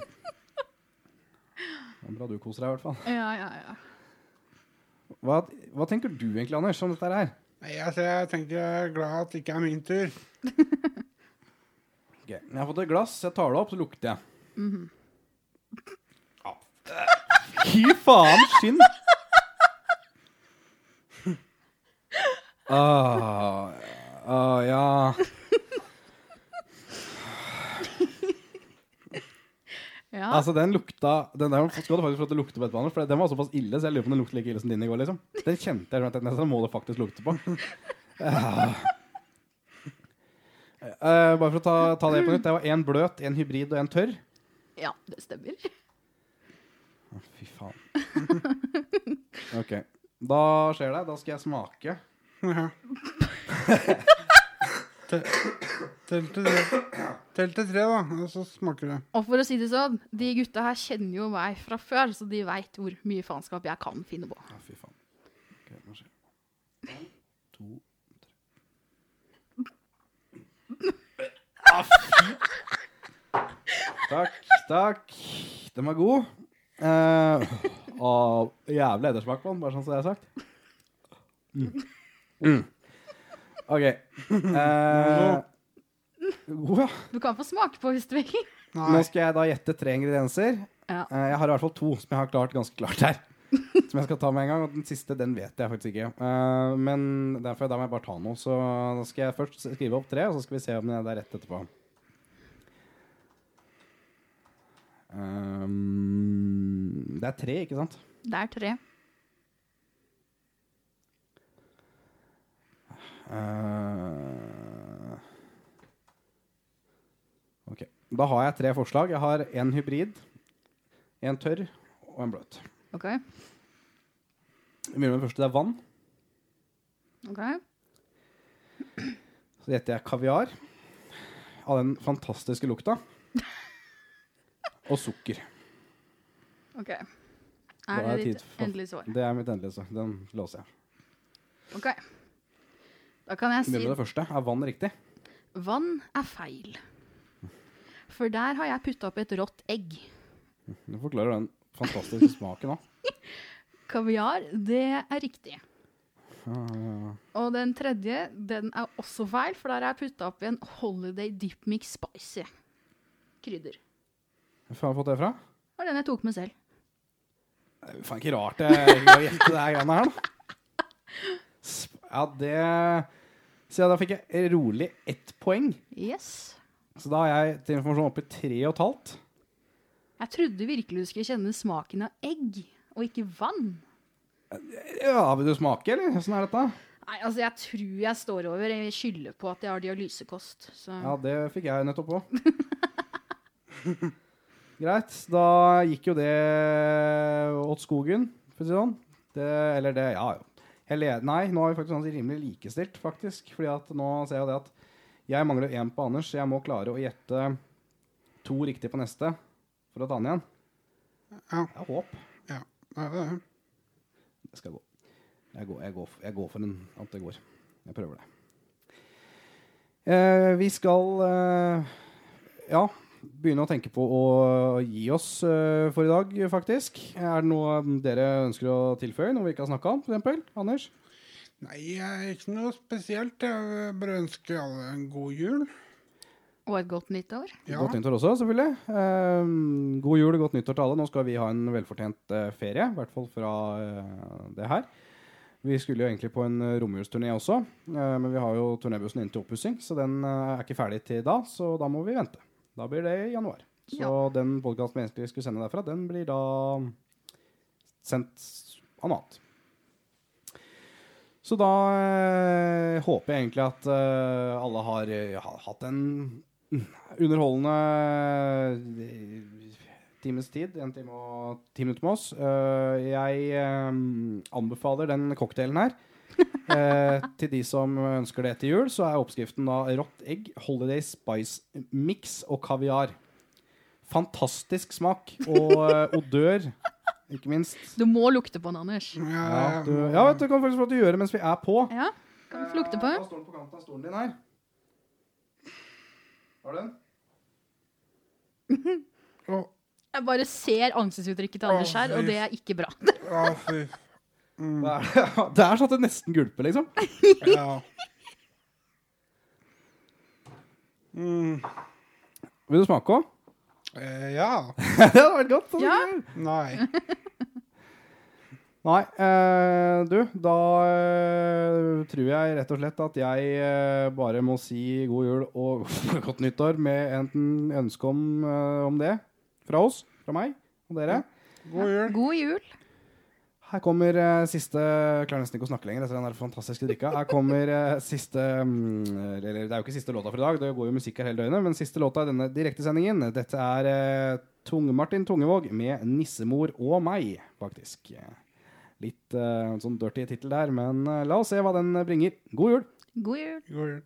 Speaker 3: det er bra du koser deg, i hvert fall.
Speaker 5: Ja, ja, ja.
Speaker 3: Hva, hva tenker du egentlig, Anders, om dette her?
Speaker 4: Nei, altså, jeg tenkte jeg er glad at det ikke er min tur.
Speaker 3: Ok, Jeg har fått et glass, jeg tar det opp, så lukter jeg. Ah. Fy faen, skinn! Ah, ah, ja
Speaker 5: ja.
Speaker 3: Altså, den lukta Den der skal du faktisk få lov til å lukte på etterpå, Anders, for den var såpass ille, så jeg lurer på om den lukter like ille som din i går, liksom. Den kjente jeg, den nesten må det faktisk lukte på. Ah. Eh, bare for å ta, ta det på nytt. Det var én bløt, én hybrid og én tørr.
Speaker 5: ja, det stemmer.
Speaker 3: Fy faen. OK. Da skjer det. Da skal jeg smake.
Speaker 4: Ja. Te- Tell til tre. Tell til tre, da, og så smaker det.
Speaker 5: Og for å si det sånn, de gutta her kjenner jo meg fra før, så de veit hvor mye faenskap jeg kan finne på.
Speaker 3: Ja, fy faen. Ok, nå skjer det. To, tre Ah, fy! Ah, Takk, takk. Den var god. Eh, og jævlig ettersmak på den, bare sånn som det er sagt. Mm. Mm. OK. Eh, god, ja.
Speaker 5: Du kan få smake på hvis du vil.
Speaker 3: Nå
Speaker 4: Nei.
Speaker 3: skal jeg da gjette tre ingredienser.
Speaker 5: Ja.
Speaker 3: Eh, Jeg har i hvert fall to som jeg har klart ganske klart her. Som jeg skal ta med en gang. Og den siste den vet jeg faktisk ikke. Eh, men derfor, da må jeg bare ta noe. Så da skal jeg først skrive opp tre, og så skal vi se om det er rett etterpå. Ehm, Eh, det er tre, ikke sant?
Speaker 5: Det er tre.
Speaker 3: Eh, ok. Da har jeg tre forslag. Jeg har en hybrid, en tørr og en bløt.
Speaker 5: OK.
Speaker 3: Vi begynner med den første. Det er vann.
Speaker 5: ok.
Speaker 3: Så gjetter jeg kaviar av den fantastiske lukta. Og sukker.
Speaker 5: ok.
Speaker 3: Da
Speaker 5: Er det
Speaker 3: tid
Speaker 5: ditt
Speaker 3: for-
Speaker 5: endelige svar?
Speaker 3: Det er mitt endelige svar. Den låser jeg.
Speaker 5: OK. Da kan jeg
Speaker 3: Vi
Speaker 5: si
Speaker 3: begynner med det første. Er vann riktig?
Speaker 5: Vann er feil. For der har jeg putta opp et rått egg.
Speaker 3: Du forklarer den fantastiske smaken òg.
Speaker 5: Kaviar, det er riktig.
Speaker 3: Ah.
Speaker 5: Og den tredje, den er også feil, for der har jeg putta opp i en Holiday Dip Mix Spicy. Krydder.
Speaker 3: Hvor har jeg fått det fra?
Speaker 5: Det var den jeg tok med selv.
Speaker 3: Det er faen ikke rart jeg ikke har gjettet det her greiene her, da. Sp- Ja, det Så ja, da fikk jeg rolig ett poeng.
Speaker 5: Yes.
Speaker 3: Så da er jeg til informasjon oppe i tre og et halvt.
Speaker 5: Jeg trodde virkelig du skulle kjenne smaken av egg, og ikke vann.
Speaker 3: Ja, Vil du smake, eller? Åssen er dette?
Speaker 5: Nei, altså, jeg tror jeg står over. Jeg skylder på at jeg har dialysekost. Så
Speaker 3: Ja, det fikk jeg nettopp òg. Greit. Da gikk jo det åt skogen, for å si det sånn. Det, eller det Ja, jo. Hele, nei, nå er vi faktisk sånn rimelig likestilt, faktisk. Fordi at nå ser jeg det at jeg mangler én på Anders, så jeg må klare å gjette to riktig på neste for å ta den igjen.
Speaker 4: Ja.
Speaker 3: Det er håp.
Speaker 4: Ja, det er det.
Speaker 3: Det skal gå. Jeg går, jeg går, f- jeg går for en, at det går. Jeg prøver det. Eh, vi skal eh, ja, begynne å tenke på å gi oss eh, for i dag, faktisk. Er det noe dere ønsker å tilføye, noe vi ikke har snakka om, f.eks.? Anders?
Speaker 4: Nei, jeg er ikke noe spesielt. Jeg vil bare ønsker alle en god jul.
Speaker 5: Og et godt nyttår.
Speaker 4: Ja,
Speaker 3: Godt nyttår også, selvfølgelig. Eh, god jul og godt nyttår til alle. Nå skal vi ha en velfortjent eh, ferie, i hvert fall fra eh, det her. Vi skulle jo egentlig på en eh, romjulsturné også, eh, men vi har jo turnébussen inn til oppussing, så den eh, er ikke ferdig til da, så da må vi vente. Da blir det i januar. Så
Speaker 5: Ja.
Speaker 3: den podkasten vi egentlig skulle sende derfra, den blir da sendt annet. Så da eh, håper jeg egentlig at eh, alle har eh, ha- hatt en underholdende eh, times tid, en time og ti minutter med oss. Eh, jeg eh, anbefaler den cocktailen her. Eh, til de som ønsker det til jul, så er oppskriften da rått egg, holiday spice mix og kaviar. Fantastisk smak og eh, odør, ikke minst.
Speaker 5: Du må lukte på den, Anders.
Speaker 3: Ja,
Speaker 4: jeg-
Speaker 3: du, ja vet du, kan faktisk få lov til å gjøre det mens vi er på.
Speaker 5: Ja, kan du få lukte
Speaker 3: Eh,
Speaker 5: på den?
Speaker 3: Da står den på kanten av stolen din her. Har du den?
Speaker 4: Å,
Speaker 5: Jeg bare ser ansiktsuttrykket til Anders her, og det er ikke bra.
Speaker 4: å, fy.
Speaker 3: Det er, det er sånn at det nesten gulper, liksom.
Speaker 4: Ja. Mm,
Speaker 3: Vil du smake òg?
Speaker 4: eh, ja.
Speaker 3: det hadde vært godt. Sånn.
Speaker 5: Ja.
Speaker 4: Nei.
Speaker 3: Nei, eh, du, da eh, tror jeg rett og slett at jeg eh, bare må si god jul og godt nyttår med enten ønske om, eh, om det fra oss, fra meg og dere.
Speaker 4: God jul.
Speaker 5: God jul.
Speaker 3: Her kommer eh, siste Jeg klarer nesten ikke å snakke lenger etter den der fantastiske drikka. Her kommer eh, siste mm, Eller det er jo ikke siste låta for i dag, det går jo musikk her hele døgnet, men siste låta i denne direktesendingen. Dette er eh, Tung Martin Tungevåg med 'Nissemor og meg', faktisk. Litt eh, sånn dirty tittel der, men eh, la oss se hva den bringer. God jul!
Speaker 5: God jul.
Speaker 4: God jul.